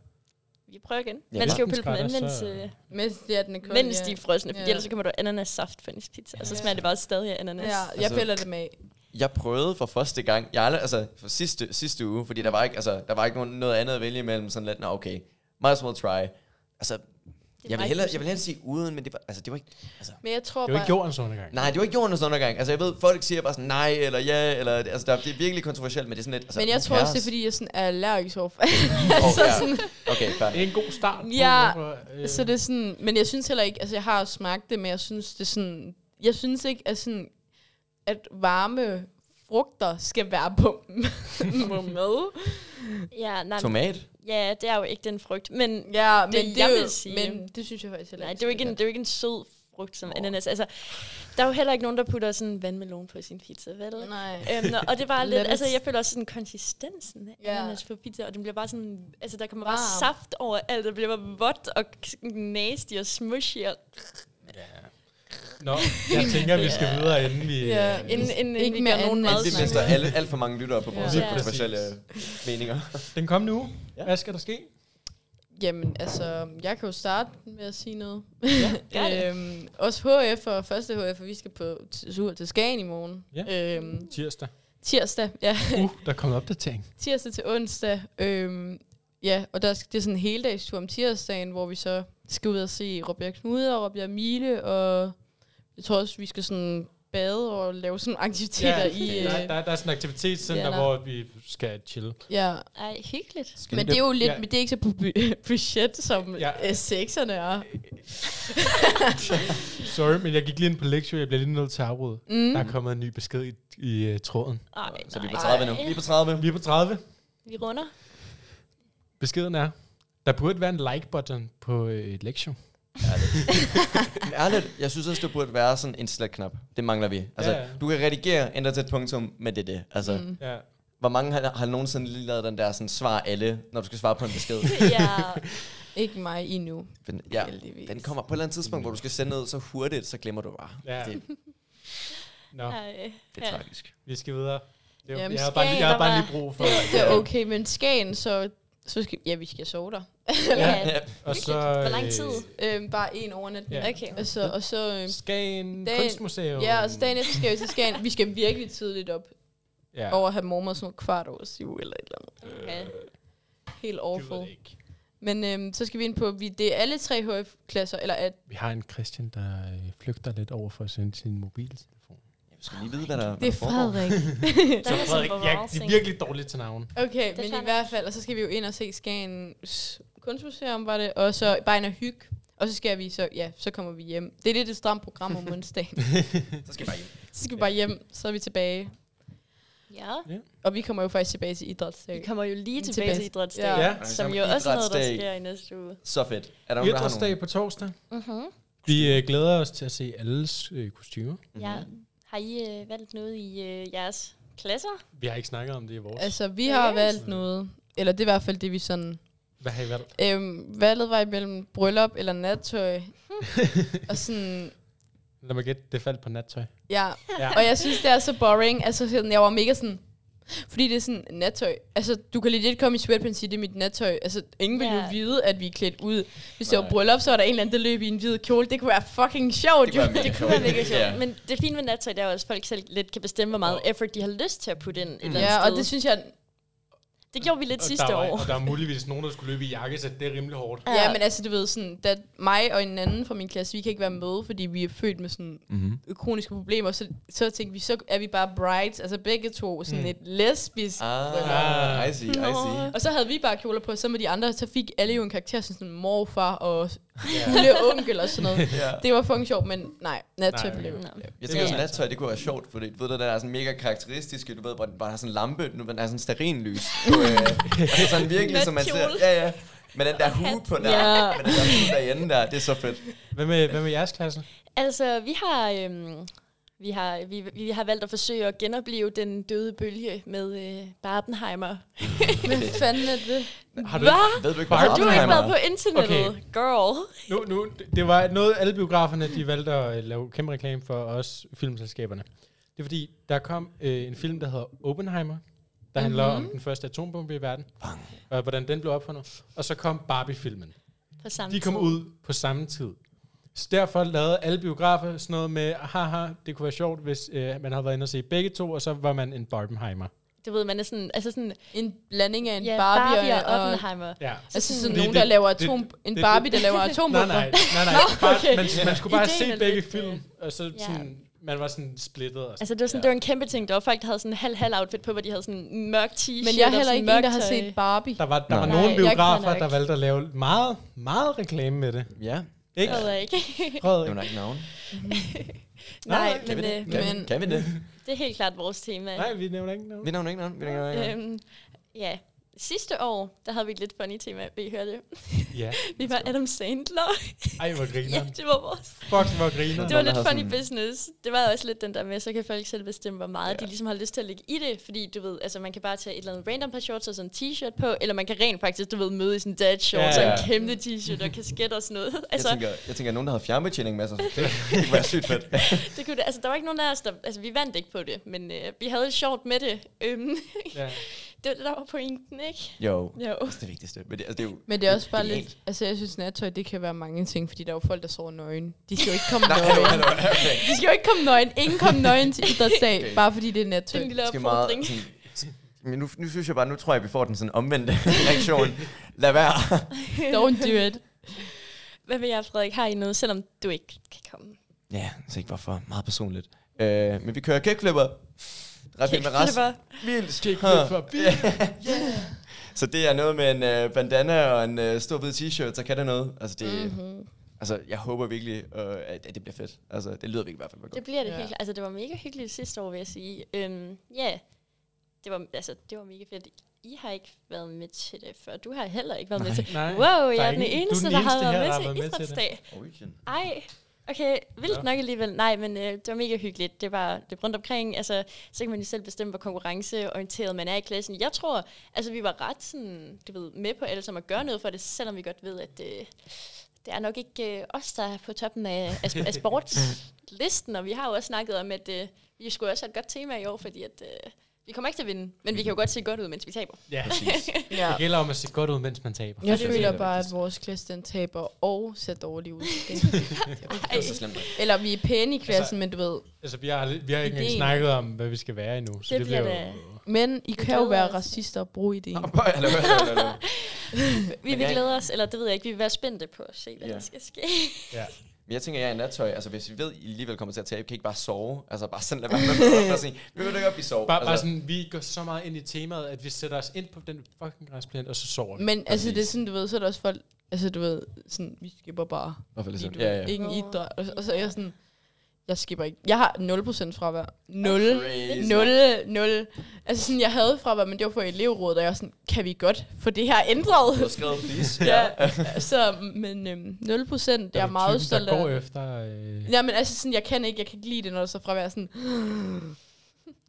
S3: Vi prøver igen.
S2: Ja,
S3: Man skal jo
S1: hvis
S3: pille
S1: den
S3: dem med,
S1: skrætter,
S3: mens,
S1: så-
S3: øh,
S4: Mens ja, den er kold,
S3: mens
S4: ja.
S3: de er frosne. Fordi
S4: Ja.
S3: ellers så kommer der ananassaftsaften på hendes pizza, og så
S4: Ja.
S3: smager det bare stadig af ananas.
S4: Ja, jeg
S2: Altså-
S4: piller dem af.
S2: Jeg prøvede for første gang, jeg aldrig, altså for sidste, sidste uge, fordi der var ikke, altså, der var ikke nogen, noget andet at vælge imellem, sådan lidt, nå okay, might as well try. Altså, jeg vil,
S3: meget
S2: hellere,
S3: pudsigt.
S2: jeg vil hellere sige uden, men det var, altså, det var ikke, altså,
S4: Men jeg tror
S1: det er jo ikke
S4: bare...
S1: jordens undergang.
S2: nej, det var ikke jordens undergang. Altså, jeg ved, folk siger bare sådan, nej, eller ja, eller, altså, der, det er virkelig kontroversielt, men det er sådan lidt, altså,
S4: Men jeg
S2: who
S4: tror også,
S2: cares?
S4: det er, fordi jeg sådan er allergisk overfor.
S2: Åh,
S4: altså
S2: ja.
S4: sådan,
S2: Okay,
S1: Det
S2: færdig.
S1: er en god start. på,
S4: Ja,
S1: hvorfor, øh,
S4: så det er sådan... Men jeg synes heller ikke... Altså, jeg har smagt det, men jeg synes, det er sådan... Jeg synes ikke, at sådan... At varme frugter skal være på, på mad.
S3: Ja, nej, men-
S2: Tomat?
S3: ja, det er jo ikke den frugt. Men
S4: Ja, men
S3: Det,
S4: det,
S3: jeg
S4: er jo,
S3: vil sige-
S4: men det synes jeg faktisk heller
S3: nej, det er jo ikke en,
S4: skal
S3: det er jo ikke en sød frugt som ananas. Altså, der er jo heller ikke nogen, der putter sådan vandmelon på sin pizza, vel?
S4: være. Nej.
S3: Øhm, nå, og det var
S4: Lad
S3: lidt,
S4: os-
S3: altså jeg føler også sådan konsistensen af
S4: Ja.
S3: ananas på pizza, og den bliver bare sådan, altså der kommer bare
S4: Varm.
S3: saft over alt, det bliver bare vådt og k- nasty og smushy, og
S1: Nå, jeg tænker, vi skal videre, inden vi...
S4: Ja.
S1: øh,
S3: inden, inden
S4: Ikke
S3: vi
S4: med
S3: gør nogen
S4: ananas.
S3: mad.
S2: Det
S4: smager
S2: mister
S4: godt.
S2: alle, alt for mange lyttere på vores
S1: Ja.
S2: ja. kontroversielle meninger.
S1: Den kommende uge.
S2: Ja.
S1: Hvad skal der ske?
S4: Jamen, altså, jeg kan jo starte med at sige noget.
S3: gør det.
S4: øhm, også HF og første HF, og vi skal på t- tur til Skagen i morgen.
S1: Ja.
S4: Øhm,
S1: Tirsdag.
S4: tirsdag, ja.
S1: Uh, der kommer opdatering.
S4: tirsdag til onsdag. Øhm, ja, og der, skal- det er sådan en heldagstur om tirsdagen, hvor vi så skal ud og se Råbjerg Knude og Råbjerg Mile, og jeg tror også, vi skal sådan bade og lave sådan nogle aktiviteter ja, i...
S1: der,
S4: Øh,
S1: der, der er sådan en aktivitetscenter,
S4: ja,
S1: ja,
S4: der-
S1: hvor vi skal chille.
S4: ja,
S3: Ej, hyggeligt.
S4: men det er jo lidt,
S1: Ja.
S4: men det er ikke så på bu- budget, som
S1: Ja.
S4: ja. sexerne er.
S1: Sorry, men jeg gik lige ind på lecture, jeg bliver lige nødt til at afbryde. Mm. Der er kommet en ny besked i, i uh, tråden.
S3: Ej,
S2: Så vi er på
S3: nej.
S2: 30 nu. Vi er på 30.
S1: Vi er på 30.
S3: Vi runder.
S1: Beskeden er, der burde være en like-button på øh, lecture.
S4: Mm.
S2: Men ærligt, jeg synes også, det burde være sådan en slet-knap. Det mangler vi. Altså,
S1: Ja,
S2: ja,
S1: ja.
S2: ja. du kan redigere, ændre til et punktum, men det er det. Altså, mm.
S1: Ja.
S2: hvor mange har, har nogensinde lige lavet den der sådan, svar alle, når du skal svare på en besked?
S3: Ja,
S4: Ikke mig endnu.
S2: den, ja,
S4: Heldigvis.
S2: den kommer på et eller andet tidspunkt, hvor du skal sende noget så hurtigt, så glemmer du bare.
S1: Ja.
S2: Det,
S1: Nå,
S3: ej.
S2: det er
S3: Ja.
S2: tragisk.
S1: vi skal videre. Det,
S4: Jamen,
S1: jeg har bare, lige- jeg har
S3: Skagen,
S1: bare
S3: der
S1: lige brug for...
S4: Det er okay, men Skagen, så, så skal, ja, vi skal sove der.
S3: Ja.
S1: Og så,
S3: Hvor lang
S1: øh,
S3: tid?
S4: Øhm, bare en overnatning.
S1: Ja.
S3: Okay.
S4: Og så, og så øhm,
S1: Skagen
S4: Dagen-
S1: Kunstmuseum.
S4: ja, og så dagen efter skal vi til Skagen. Vi skal virkelig tidligt op
S1: Ja. Øh,
S4: over at have mormor sådan noget kvart over syv eller et eller andet.
S3: Okay.
S4: Helt
S1: Gider det
S4: awful.
S1: ikke.
S4: Men øhm, så skal vi ind på, vi, det er alle tre HF-klasser, eller at,
S1: Vi har en Christian, der øh, flygter lidt over for at sende sin mobiltelefon.
S2: Jeg skal lige vide, hvad der,
S4: det
S2: hvad
S4: er
S2: der foregår.
S4: Frederik.
S3: Der er sådan en
S1: ja, det er
S3: browsing.
S1: virkelig dårligt til navn.
S4: Okay,
S3: er
S4: men
S3: fair
S4: i hvert fald, og så skal vi jo ind og se Skagens kunstmuseum, var det, og så bare ind og hygge. Og så skal vi så, ja, så kommer vi hjem. Det er lidt et stramt program om onsdagen.
S2: Så skal jeg bare hjem.
S4: så skal vi bare hjem, så er vi tilbage.
S3: Ja.
S4: Og vi kommer jo faktisk tilbage til idrætsdag.
S3: Vi kommer jo lige tilbage til
S4: Tilbage
S3: øh,
S4: til-
S3: idrætsdag,
S4: Ja.
S1: Ja.
S3: som jo også er noget, der sker i næste uge.
S2: Så fedt. Er der nogen, der har
S1: Idrætsdag
S2: nogen?
S1: på torsdag.
S3: Mhm.
S1: Vi øh, glæder os til at se alles øh, kostymer.
S3: Ja. Har I øh, valgt noget i øh, jeres klasser?
S1: Vi har ikke snakket om det i vores.
S4: Altså, vi har
S3: Seriøst?
S4: valgt noget. Eller det er i hvert fald det, vi sådan...
S1: Hvad har I valgt?
S4: Øhm, valget var imellem bryllup eller nattøj. og sådan...
S1: Lad mig gætte, det faldt på nattøj.
S4: Ja,
S1: Ja.
S4: og jeg synes, det er så boring. Altså, sådan, jeg var mega sådan... Fordi det er sådan nattøj. Altså, du kan legit komme i sweatpants og sige, det er mit nattøj. Altså, ingen ville
S3: Ja.
S4: jo vide, at vi er klædt ud. Hvis det var
S2: Nej.
S4: bryllup, så var der en eller anden, der løb i en hvid kjole. Det kunne være fucking sjovt,
S2: Det
S4: jo.
S2: kunne være mega
S3: Det kunne være mega sjovt.
S2: Ja.
S3: Men det fine ved nattøj, det er jo også, at folk selv lidt kan bestemme, hvor meget effort de har lyst til at putte ind et eller andet
S4: Ja, og
S3: sted.
S4: det synes jeg...
S3: det gjorde vi lidt sidste
S1: der var,
S3: år.
S1: Og der er muligvis nogen, der skulle løbe i jakkesæt. Det er rimelig hårdt.
S4: Ja, men altså, du ved, sådan, da mig og en anden fra min klasse, vi kan ikke være med, fordi vi er født med sådan
S2: Mm-hmm.
S4: kroniske problemer, så, så tænkte vi, så er vi bare brides, altså begge to, sådan
S1: Mm.
S2: Mhm.
S4: mm. et lesbisk.
S2: Ah, I see, I see.
S4: Og så havde vi bare kjoler på, så med de andre, så fik alle jo en karakter som sådan morfar og
S1: Ja.
S4: lille onkel og sådan noget.
S2: Ja.
S4: Det var fucking sjovt, men nej, nattøj
S1: Nej.
S4: blev
S3: Nå.
S2: Jeg tænker,
S1: Det
S2: at
S1: er
S2: nattøj, det kunne være sjovt, for det, ved du, den er sådan mega karakteristiske, du ved, hvor den bare har sådan en lampe, nu den er sådan stearinlys. på, øh, altså sådan virkelig, som man ser.
S3: Natkjole.
S2: Ja, ja. Med den der hue på der,
S4: Ja.
S2: med den der hue derinde der, det er så fedt.
S1: Hvad med, hvad med jeres klasse?
S3: Altså, vi har, øhm, vi, har, vi, vi har valgt at forsøge at genopleve den døde bølge med øh, Barbenheimer.
S4: Hvad fanden er det?
S1: Har du,
S3: Hvad?
S2: Ved du ikke,
S1: Har
S3: Har du ikke været på internettet,
S1: Okay.
S3: okay. girl?
S1: Nu, nu, det var noget, alle biograferne de valgte at øh, lave kæmpe reklame for os filmselskaberne. Det er fordi, der kom øh, en film, der hedder Oppenheimer, der handler
S3: Mhm.
S1: om den første atombombe i verden, og hvordan den blev opfundet. Og så kom Barbie-filmen.
S3: På samme
S1: De kom
S3: tid.
S1: ud på samme tid. Så derfor lavede alle biografer sådan noget med, haha, det kunne være sjovt, hvis øh, man havde været inde og se begge to, og så var man en Barbenheimer.
S3: Du ved, man er sådan, altså sådan,
S4: En blanding af en
S3: ja,
S4: Barbie,
S3: Barbie og,
S4: og, og
S3: Oppenheimer.
S1: Ja.
S4: altså sådan
S3: Det-
S4: nogen,
S1: det-
S4: der laver
S1: det-
S4: atom... en
S1: det-
S4: Barbie, der laver
S1: Nej,
S4: atombomber.
S1: nej, nej, nej. Bare,
S4: okay.
S1: man, man skulle bare
S3: Ideen er
S1: se begge
S3: lidt, øh,
S1: film, og så
S3: ja.
S1: sådan, man var sådan splittet. Og sådan.
S3: Altså, det var,
S2: Ja.
S3: sådan, ja. det var en kæmpe ting. Der var folk, der havde sådan en halv-halv outfit på, hvor de havde sådan mørk t-shirt
S4: Men jeg er
S3: og
S4: heller
S3: sådan
S4: ikke en, der har
S3: mørkt tøj.
S4: set Barbie.
S1: Der var, der
S2: Nå.
S1: var
S2: Nej,
S1: nogle
S4: jeg kan
S1: biografer,
S3: nok.
S1: der valgte at lave meget, meget reklame med det.
S2: Ja,
S1: Ikke?
S3: Jeg ved ikke.
S1: Prøvet
S2: det
S1: ikke.
S2: var ikke navn.
S1: Nej,
S3: Nej,
S2: Kan
S3: men
S2: vi det?
S3: øh,
S2: Kan,
S4: men-
S2: kan vi det?
S3: det er helt klart vores tema.
S1: Nej, vi nævner ikke noget.
S2: Vi navn ikke navn. Vi navn ikke navn.
S3: Øhm, ja, sidste år, der havde vi et lidt funny tema, vil I høre det?
S1: Ja.
S3: Vi var Adam Sandler.
S1: Ej, hvor
S3: ja,
S1: griner.
S3: det var vores.
S1: Fuck, hvor griner.
S3: Det var
S2: Nogen, der
S3: lidt
S2: havde
S3: funny
S2: sådan-
S3: business. Det var også lidt den der med, så kan folk selv bestemme, hvor meget
S2: Ja.
S3: de ligesom har lyst til at lægge i det. Fordi du ved, altså man kan bare tage et eller andet random par shorts og sådan en t-shirt på, eller man kan rent faktisk, du ved, møde i sådan en dad shorts
S1: Ja,
S3: ja,
S2: ja.
S3: ja. og en kæmpe t-shirt og kasket og sådan noget.
S2: Jeg
S3: Altså,
S2: tænker, jeg tænker, at nogen, der havde fjernbetjening med sig. Det kunne være sygt fedt.
S3: det kunne, det- altså, der var ikke nogen af os, der, altså vi vandt ikke på det, men øh, vi havde det sjovt med det. Øhm,
S1: Ja.
S3: det var det, der var pointen, ikke?
S2: Jo,
S3: Jo.
S2: det er det vigtigste. Men det, altså, det er jo
S4: Men det er også bare
S2: genialt.
S4: lidt... Altså, jeg synes, nattøj, det kan være mange ting, fordi der er jo folk, der sover nøgen. De skal jo ikke komme
S2: Nej, hallo,
S4: nøgen.
S2: hallo, okay.
S4: De skal jo ikke komme nøgen. Ingen kom nøgen til idrætsdag,
S2: Okay.
S4: okay. bare fordi det er nattøj.
S3: Den lille
S2: Skal meget,
S3: opfordring.
S2: sådan, men nu, nu synes jeg bare, nu tror jeg, vi får den sådan omvendte reaktion. Lad være.
S4: Don't do it.
S3: Hvad med jer, Frederik? Har I noget, selvom du ikke kan komme?
S2: Ja, så ikke hvorfor. Meget personligt. Øh, men vi kører kickflipper. Ret vild med rest.
S3: Kickflipper.
S2: Vildt.
S1: Kickflipper.
S2: Så det er noget med en øh, bandana og en øh, stor hvid t-shirt, så kan det noget. Altså, det,
S3: Mhm.
S2: altså jeg håber virkelig, øh, at, at det bliver fedt. Altså, det lyder virkelig i hvert fald godt.
S3: Det bliver det
S4: Ja.
S3: ja. helt klart. Altså, det var mega hyggeligt sidste år, vil jeg sige. Øhm, Ja, det, var, altså, det var mega fedt. I har ikke været med til det før. Du har heller ikke været med til det.
S1: Nej.
S3: Wow,
S1: Der
S3: jeg
S1: er
S3: er den
S1: ingen- du er
S3: eneste,
S1: den
S3: der har
S1: eneste her, der
S3: været
S1: har
S3: med
S1: været
S3: til
S1: med til det.
S3: idrætsdag.
S2: Origin.
S3: Ej, okay, vildt
S1: Ja.
S3: ja. nok alligevel. Nej, men øh, det var mega hyggeligt. Det var det rundt omkring. Altså, så kan man jo selv bestemme, hvor konkurrenceorienteret man er i klassen. Jeg tror, altså, vi var ret sådan, du ved, med på alle sammen at gøre noget for det, selvom vi godt ved, at øh, det er nok ikke øh, os, der er på toppen af, af, sp- af sportslisten. Og vi har jo også snakket om, at øh, vi skulle også have et godt tema i år, fordi at, øh, vi kommer ikke til at vinde, men
S2: Mm-hmm.
S3: vi kan jo godt se godt ud, mens vi taber.
S1: Ja.
S2: Præcis.
S4: Ja.
S1: Det gælder om at se godt ud, mens man taber.
S4: Jeg
S2: det er
S4: føler
S2: det
S4: bare, at
S2: vigtigste.
S4: vores klasse den taber og ser dårlig ud.
S2: Det var så slemt.
S4: Eller vi er pæne i klassen, men du ved.
S1: Altså, vi har, vi har ikke engang
S4: Ideen.
S1: snakket om, hvad vi skal være endnu. Så det,
S3: Det bliver
S1: bliver jo...
S4: Men I kan jo
S3: glæder
S4: være
S3: os.
S4: racister og bruge ideen.
S2: Åh, bøj, hallo, hallo, hallo.
S3: Vi vil
S2: jeg-
S3: glæde os, eller det ved jeg ikke, vi vil være spændte på at se, hvad
S2: Ja.
S3: der skal ske.
S1: Ja.
S2: Men jeg tænker, at jeg er i nattøj. Altså, hvis vi ved, I alligevel kommer til at tabe, kan I ikke bare sove? Altså, bare sådan lade være med at og sige, vi vil ikke op, vi sover.
S1: Bare, bare
S2: altså,
S1: sådan, vi går så meget ind i temaet, at vi sætter os ind på den fucking græsplæne, og så sover vi.
S4: Men altså, det er
S2: Præcis.
S4: sådan, du ved, så er der også folk... Altså, du ved, sådan, vi skipper bare
S2: Hvorfor er det sådan?
S4: fordi du
S2: Ligesom- Ja, ja.
S4: ingen idræt. Og, og så er jeg sådan... Jeg skipper ikke. Jeg har 0% fravær. 0.
S2: Crazy.
S4: 0, 0. Altså sådan, jeg havde fravær, men det var for elevrådet, og jeg var sådan, kan vi godt få det her
S2: Du har
S4: ændret?
S2: skrevet please.
S4: ja, så, men øhm, 0 procent, jeg er meget stolt
S1: af. går
S4: af.
S1: efter... Øh,
S4: Ja, men altså sådan, jeg kan ikke, jeg kan ikke lide det, når der så fravær sådan.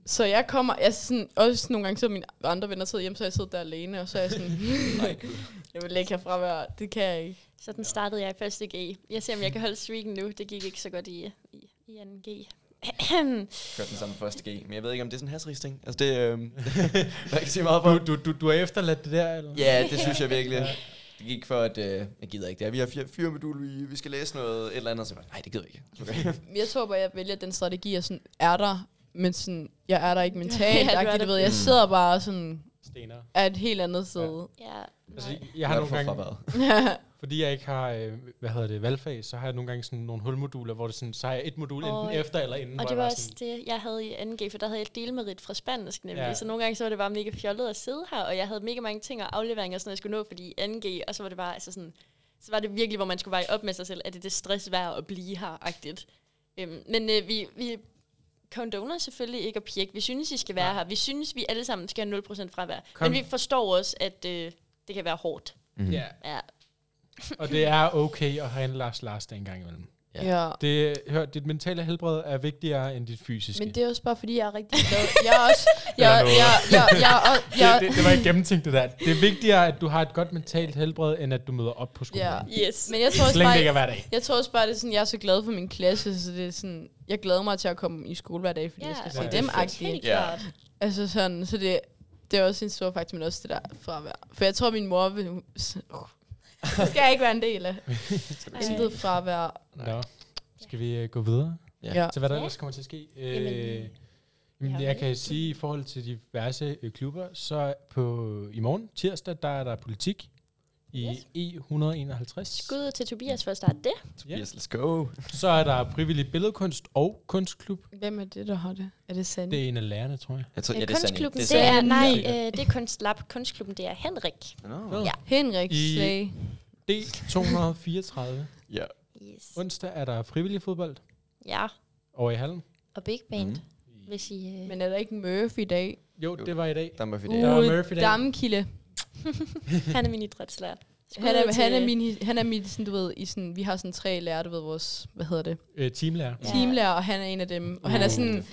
S4: Så jeg kommer, altså sådan, også nogle gange, så mine andre venner sidder hjemme, så jeg sidder der alene, og så er jeg sådan,
S2: Nej, gud.
S4: jeg vil ikke have fravær, det kan jeg ikke.
S3: Så den startede jeg i første G. Jeg ser, om jeg kan holde streaken nu. Det gik ikke så godt i, i, i anden G.
S2: kørte den samme første G. Men jeg ved ikke, om det er sådan en hasserig ting. Altså det, øhm, jeg kan sige meget på.
S1: du, du, du, du har efterladt det der, eller?
S2: Ja, det synes jeg virkelig. Det gik for, at øh, jeg gider ikke det her. Vi har fire, fire modul, vi, vi skal læse noget et eller andet. Så jeg bare, nej, det gider jeg ikke. Okay.
S4: Jeg tror bare, jeg vælger den strategi, jeg sådan er der, men sådan, jeg er der ikke mentalt,
S3: Ja, du er der.
S4: ja, du ved, jeg
S2: Mm.
S4: sidder bare sådan,
S1: Stener.
S4: er et helt andet sted.
S3: ja,
S1: Altså,
S3: nej.
S1: jeg har
S2: Hvad er
S1: nogle
S2: du for
S1: gange...
S2: fraværet?
S4: Ja.
S1: Fordi jeg ikke har, øh, hvad hedder det, valgfag, så har jeg nogle gange sådan nogle hulmoduler, hvor det sådan, så har jeg et modul
S3: Åh,
S1: oh, enten
S3: ja.
S1: efter eller inden, hvor
S3: Og det
S1: jeg
S3: var
S1: bare
S3: også det, jeg havde i 2G, for der havde jeg et delmerit fra spansk nemlig.
S1: Ja.
S3: Ja. Så nogle gange så var det bare mega fjollet at sidde her, og jeg havde mega mange ting og afleveringer, og sådan noget, jeg skulle nå, fordi i 2G, og så var det bare altså sådan, så var det virkelig, hvor man skulle veje op med sig selv, at det er det stress værd at blive her-agtigt. Øhm, men øh, vi, vi condoner selvfølgelig ikke at pjekke. Vi synes, I skal være
S1: Nej.
S3: her. Vi synes, vi alle sammen skal have 0% fravær.
S1: Kom.
S3: Men vi forstår også, at øh, det kan være hårdt.
S2: Mm.
S1: Mhm. Ja,
S3: Ja.
S1: og det er okay at have en Lars Lars en gang imellem.
S2: Ja.
S4: ja.
S1: Det, hør, dit mentale helbred er vigtigere end dit fysiske.
S4: Men det er også bare, fordi jeg er rigtig glad. Jeg er også... Jeg,
S1: Eller
S4: jeg,
S1: noget.
S4: jeg, jeg, jeg, jeg,
S1: det, det, det var ikke gennemtænkt, det der. Det er vigtigere, at du har et godt mentalt helbred, end at du møder op på skolen.
S4: Ja.
S1: Yeah.
S3: Yes.
S4: men jeg tror
S1: Så
S4: også
S1: længe det
S4: bare,
S1: ikke er hver dag.
S4: jeg tror også bare, det er sådan, jeg er så glad for min klasse, så det er sådan, jeg glæder mig til at komme i skole hver dag, fordi jeg skal
S1: Ja,
S4: se
S1: det er
S4: dem
S3: Helt
S4: agtigt.
S2: Ja.
S3: klart.
S4: Altså sådan, så det, det er også en stor faktor, men også det der fravær. For jeg tror, min mor vil... Uh, det skal jeg ikke være en del af. Intet fravær.
S1: Nå. Skal vi øh, gå videre
S2: Ja.
S4: Ja.
S1: til, hvad der
S3: Ja.
S1: ellers kommer til at ske? Øh,
S3: Jamen,
S1: jamen,
S3: jeg
S1: jeg,
S3: ved
S1: kan
S3: ikke.
S1: sige, i forhold til diverse øh, klubber, så på i morgen, tirsdag, der er der politik i E
S3: Yes.
S1: E151.
S3: Skud til Tobias for at starte det.
S2: Yes, let's go.
S1: Så er der frivillig billedkunst og kunstklub.
S4: Hvem er det, der har det? Er det sandt?
S1: Det er en af lærerne, tror jeg.
S2: Jeg tror,
S3: Øh,
S2: ja, det er Sanne.
S3: kunstklubben, det
S2: Sanne.
S3: er,
S4: Sanne.
S3: nej, øh, det er Kunstlab. Kunstklubben, det er Henrik.
S2: Nå.
S3: Ja.
S4: Henrik
S1: I-
S4: Slag.
S1: D234.
S2: Ja.
S3: Yes.
S1: Onsdag er der frivillig fodbold
S3: Ja,
S1: over i hallen.
S3: og Big Band,
S2: Mhm.
S3: mm. hvis I... Øh,
S4: Men er der ikke Murphy i dag?
S1: Jo, det var i dag.
S2: Der må vi det.
S1: Der er
S4: Ude
S1: Murphy i dag.
S4: Damkilde.
S3: han er min idrætslærer. Skud
S4: Han er,
S3: til-
S4: han er min, hi- han er min sådan, du ved, i sådan, vi har sådan tre lærere, du ved, vores, hvad hedder det,
S1: Øh, teamlærer.
S4: ja. teamlærer, og han er en af dem. Og han er
S1: Uh.
S4: sådan,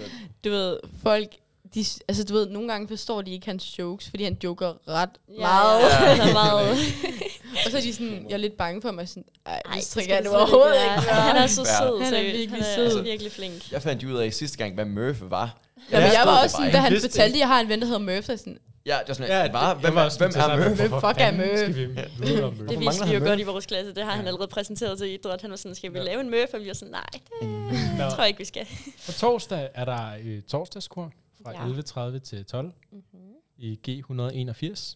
S4: du ved, folk, de, s- altså du ved, nogle gange forstår de ikke hans jokes, fordi han joker ret
S3: Ja,
S4: meget.
S3: Ja,
S4: Ja.
S3: han er meget.
S4: og så er de sådan, jeg er lidt bange for mig, sådan, ej,
S3: Ej,
S4: det
S3: det
S4: strikker jeg
S3: skal
S4: nu
S3: du slet
S4: overhovedet
S3: være.
S4: ikke.
S3: altså.
S4: altså."
S3: Han er så
S2: Ja.
S3: sød,
S4: Han er
S3: seriøst.
S4: virkelig
S3: han er
S4: sød.
S3: altså virkelig flink.
S2: Jeg fandt ud af sidste gang, hvad Murph var.
S4: Ja, men jeg
S2: forstod
S4: var
S2: det
S4: også sådan,
S2: bare ikke.
S4: da han
S1: Vidste det
S4: fortalte, at jeg har en ven, der hedder Murph, så er jeg sådan,
S2: Ja, det var sådan,
S1: Ja,
S2: ja, var,
S1: det-
S2: hvem,
S1: jeg var
S2: er-
S1: også
S2: hvem
S1: til at
S2: er
S1: starte med,
S2: Murph?
S4: hvem fuck er
S1: fanden
S4: Murph?
S1: Skal vi vide om Murph?
S3: Det
S2: mangler
S3: viser vi
S2: han
S3: jo godt
S2: møf?
S3: i vores klasse. Det har han allerede præsenteret til idræt. Han var sådan, skal vi
S1: Ja.
S3: lave en møf? Og vi var sådan, nej, det
S1: Nå.
S3: tror jeg ikke, vi skal.
S1: På torsdag er der øh, torsdagskor fra
S3: Ja.
S1: ja. 11.30 til 12 i G181.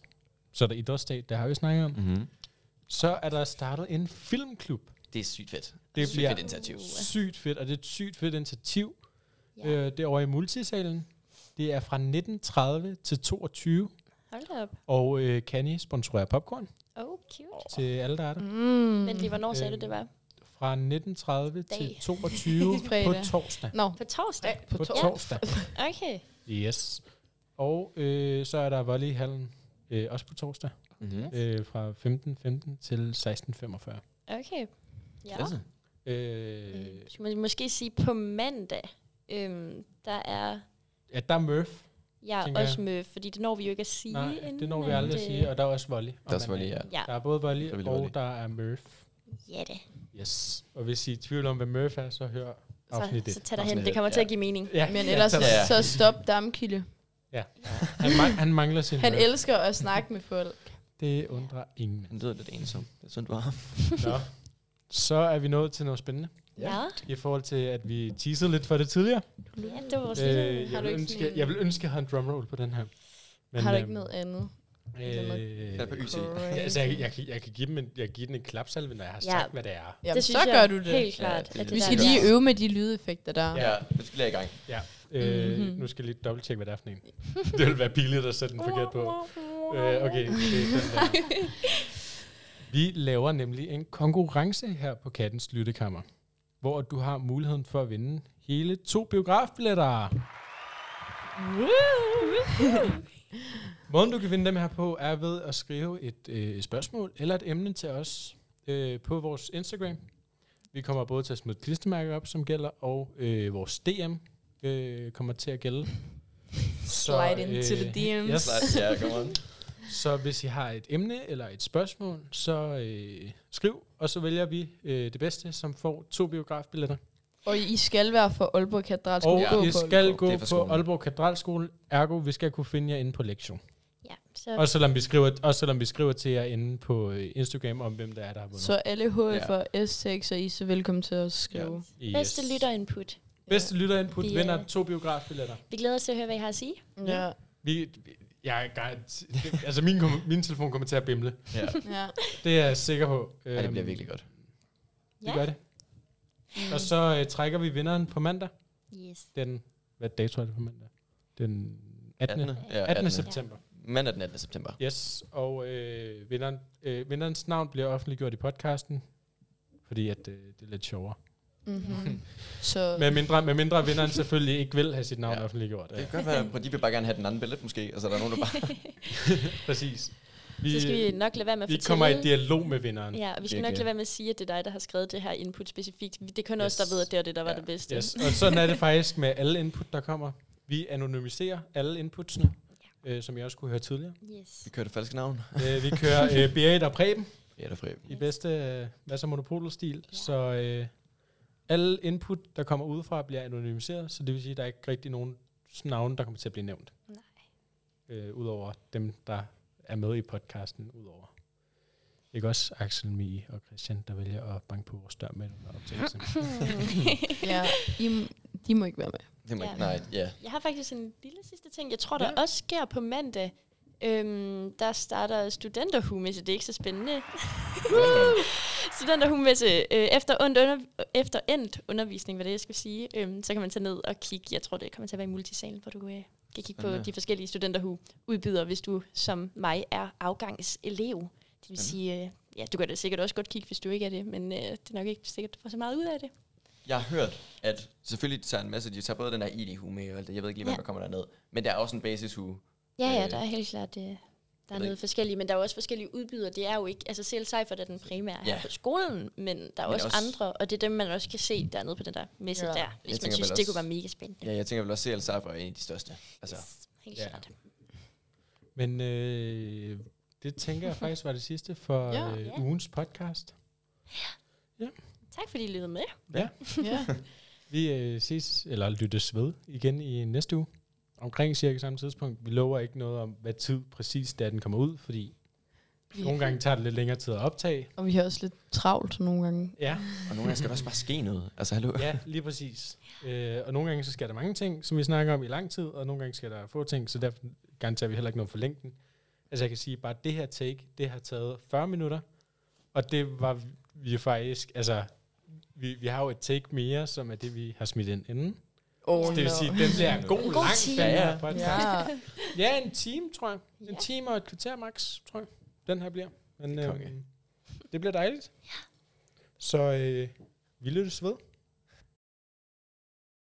S1: Så er der idrætsdag, det har vi snakket om.
S2: Mm-hmm.
S1: Så er der startet en filmklub.
S2: Det er sygt fedt.
S1: Det
S2: Sygt
S1: bliver
S2: fedt initiativ.
S1: sygt fedt, og det er et sygt fedt initiativ.
S3: Ja.
S1: Ja. Øh, det er over i multisalen. Det er fra 19.30 til 22,
S3: Hold da op.
S1: og øh, Kanye sponsorerer popcorn
S3: Oh, cute.
S1: til alle, der er der.
S4: mm.
S3: Men lige, hvornår sagde du,
S2: Øhm.
S3: det var?
S1: Fra 19.30 til
S3: Dag.
S1: 22 på
S4: Fredag.
S1: torsdag.
S4: Nå,
S3: På torsdag?
S4: på
S1: På
S4: to.
S1: torsdag.
S3: Okay.
S1: Yes. Og øh, så er der volley i hallen, øh, også på torsdag,
S2: Mm-hmm.
S1: øh, fra 15.15 til 16.45.
S3: Okay. Ja.
S2: Klasse.
S1: Øh,
S4: Mm.
S3: Øh, Skal man måske sige på mandag, øhm, der er
S1: ja, der er Murph.
S3: jeg
S1: Tænker
S3: ja, også
S1: jeg.
S3: med, fordi det når vi jo ikke at sige.
S1: Nej,
S3: inden,
S1: det når vi
S3: at,
S1: aldrig at
S3: øh,
S1: sige, og der er også volley. om
S2: Der er selvfølgelig, ja.
S1: mandagen.
S3: Ja,
S1: Der er både volley,
S2: Frivillig
S1: og
S2: volley.
S1: der er Murph.
S3: ja det.
S1: Yes. Og hvis I er i tvivl om, hvad Murph er, så hør afsnit
S3: Så,
S1: 1.
S3: så tag dig hen,
S2: Afsnit
S3: det kommer
S2: et,
S3: til
S2: ja.
S3: at give mening.
S1: Ja,
S4: Men ellers
S1: så
S2: Ja, ja.
S4: så stop Damkilde.
S1: han, man, han mangler sin
S4: Han
S1: Murph.
S4: elsker at snakke med folk.
S1: Det undrer ingen.
S2: Han lyder lidt ensom. Det er sådan, du har ham.
S1: Nå. Så er vi nået til noget spændende.
S2: Ja.
S3: Ja,
S1: I forhold til, at vi teasede lidt for det tidligere.
S3: ja det var vores lille...
S1: Øh,
S4: Har
S1: jeg,
S4: du
S1: vil
S4: ikke
S1: ønske,
S4: sådan en-
S1: jeg vil ønske, at jeg havde en drumroll på den her.
S4: Men, har du
S1: øhm,
S4: ikke noget andet?
S1: Øh,
S2: Fat på YT.
S1: ja, altså, jeg, jeg, kan- jeg, kan give dem en, jeg kan give den en klapsalve, når jeg har
S3: Ja.
S1: sagt, hvad det er.
S4: Jamen,
S3: det
S4: så gør du det.
S3: helt klart.
S2: Ja,
S3: at
S2: det-
S4: Vi
S3: der
S4: skal
S3: er
S4: lige
S3: godt.
S4: øve med de lydeffekter der.
S2: Ja, det skal jeg i gang.
S1: Øh,
S4: Mhm.
S1: Nu skal jeg lige dobbelttjekke, hvad det er for en. det ville være pinligt at sætte den forkert på. Øh, okay, det er den der. Vi laver nemlig en konkurrence her på Kattens Lyttekammer, hvor du har muligheden for at vinde hele to biografbilletter. Måden, du kan vinde dem her på, er ved at skrive et øh, spørgsmål eller et emne til os øh, på vores Instagram. Vi kommer både til at smide klistermærker op, som gælder, og øh, vores DM øh, kommer til at gælde.
S4: Slide into the DM's.
S1: Yes.
S2: Slide, ja, come on.
S1: Så hvis I har et emne eller et spørgsmål, så øh, skriv, og så vælger vi øh, det bedste, som får to biografbilletter.
S4: Og I skal være for Aalborg Katedralskole.
S1: Og
S2: gå
S1: I
S4: på
S1: skal
S4: Aalborg.
S1: gå
S2: Det er for
S1: på
S2: skolen.
S1: Aalborg Katedralskole, ergo vi skal kunne finde jer inde på lektion.
S3: Ja, så
S1: Og selvom vi skriver, også selvom vi skriver til jer inde på øh, Instagram om, hvem der er, der har vundet.
S4: Så alle HF'er, S6 og I er så velkommen til at skrive.
S1: Yes.
S3: bedste lytterinput.
S1: Bedste lytterinput
S3: Vi,
S1: yeah.
S3: øh,
S1: vinder to biografbilletter.
S3: Vi glæder os til at høre, hvad I har at sige.
S4: Ja.
S1: Vi, vi- jeg, er garant- det- altså min, kom- min telefon kommer til at bimle.
S2: Ja.
S4: ja.
S1: Det er jeg sikker på.
S2: ja, det
S1: Øhm,
S2: bliver virkelig godt.
S1: Det gør det. Og så øh, trækker vi vinderen på mandag.
S3: Mm. Yes.
S1: Den, hvad dato er det på mandag? Den 18. 18.
S2: 18. Ja,
S1: 18.
S2: 18.
S1: september.
S2: Mandag den 18. september.
S1: Yes, og øh, vinderen, øh, vinderens navn bliver offentliggjort i podcasten, fordi at, øh, det er lidt sjovere.
S4: Mm-hmm. Så
S1: Med mindre, med mindre vinderen selvfølgelig ikke vil have sit navn ja.
S2: Ja.
S1: offentliggjort.
S2: Det
S1: Ja,
S2: kan godt være, at de vil bare gerne have den anden billet måske, og så er der nogen, der bare...
S1: præcis.
S3: Så
S1: Vi,
S3: skal vi nok lade være med at
S1: vi
S3: fortælle.
S1: kommer i dialog med vinderen.
S3: Ja, og vi skal
S2: Virkelig.
S3: nok lade være med at sige, at det er dig, der har skrevet det her input specifikt. Det er kun yes. os,
S1: Yes.
S3: der ved, at det var det, der var
S2: Ja.
S3: det bedste.
S1: Yes. Og sådan er det faktisk med alle input, der kommer. Vi anonymiserer alle inputsene, øh, som jeg også kunne høre tidligere.
S3: yes.
S2: Vi kører det falske navn.
S1: Øh, vi kører øh, Berit og Preben
S2: Ja, det er Preben.
S1: i bedste øh, masser monopolstil, så øh, alle input, der kommer udefra, bliver anonymiseret, så det vil sige, at der er ikke rigtig nogen navne, der kommer til at blive nævnt.
S3: Nej.
S1: Øh, Udover dem, der er med i podcasten, udover. Ikke også Axel, Mie og Christian, der vælger at banke på vores dør med under optagelsen.
S4: ja, I, m- de må ikke være med.
S2: Det må
S3: Ja.
S2: ikke, nej, ja.
S3: Jeg har faktisk en lille sidste ting. Jeg tror, der
S1: Ja.
S3: ja. også sker på mandag. Øhm, der starter studenterhumesse. Det er ikke så spændende. studenterhumesse øh, efter, ondt under, efter endt undervisning, hvad det er, jeg skal sige. Øhm, så kan man tage ned og kigge. Jeg tror, det kommer til at være i multisalen, hvor du øh, kan kigge på
S2: Spændende.
S3: de forskellige studenterhu udbyder, hvis du som mig er afgangselev. Det vil
S2: Spændende.
S3: sige, øh, ja, du kan da sikkert også godt kigge, hvis du ikke er det, men øh, det er nok ikke sikkert, du får så meget ud af det.
S2: Jeg har hørt, at selvfølgelig de tager en masse, de tager både den der ID-hue med og alt det, jeg ved ikke lige, hvad
S3: Ja.
S2: der kommer derned, men der er også en basis-hue.
S3: Ja, ja,
S2: Øh,
S3: der er helt klart, øh, der er
S2: ved
S3: noget
S2: ikke.
S3: forskelligt, men der er jo også forskellige udbydere. Det er jo ikke, altså CL Seifert er den primære ja.
S2: Ja.
S3: her på skolen, men der er
S2: Men
S3: også,
S2: også-
S3: også andre, og det er dem, man også kan se dernede på den der messe
S4: Ja.
S3: ja. der, hvis man
S2: tænker
S3: synes,
S2: vel
S3: det
S2: også-
S3: kunne være mega spændende.
S2: Ja, jeg tænker vel også, at CL Cypher er en af de største. Altså,
S3: Helt
S1: Ja.
S3: ja. klart.
S1: Men øh, det tænker jeg faktisk var det sidste for
S4: Ja.
S1: øh,
S3: Ja.
S1: ugens podcast.
S3: Tak fordi I lyttede med.
S4: Ja.
S1: Vi øh, ses, eller lyttes ved igen i næste uge. Omkring cirka samme tidspunkt. Vi lover ikke noget om, hvad tid præcis da den kommer ud, fordi yeah. nogle gange tager det lidt længere tid at optage.
S4: Og vi har også lidt travlt nogle gange.
S1: Ja,
S2: og nogle gange skal der også bare ske noget. Altså, hallo.
S1: ja lige præcis. Øh, og nogle gange så sker der mange ting, som vi snakker om i lang tid, og nogle gange sker der få ting, så derfor garanterer vi heller ikke noget for længden. Altså jeg kan sige, bare det her take, det har taget 40 minutter, og det var vi faktisk, altså vi, vi har jo et take mere, som er det, vi har smidt ind inden.
S4: Oh,
S1: Så det vil sige, den bliver en god,
S3: En god
S1: lang
S3: time.
S1: den her
S2: Ja, ja.
S1: podcast.
S4: Ja.
S1: Ja, en time, tror jeg. En
S3: Ja.
S1: time og et kvarter max, tror jeg, den her bliver. Men
S2: Det er konge.
S1: øhm, det bliver dejligt. Så øh, vi lyttes ved.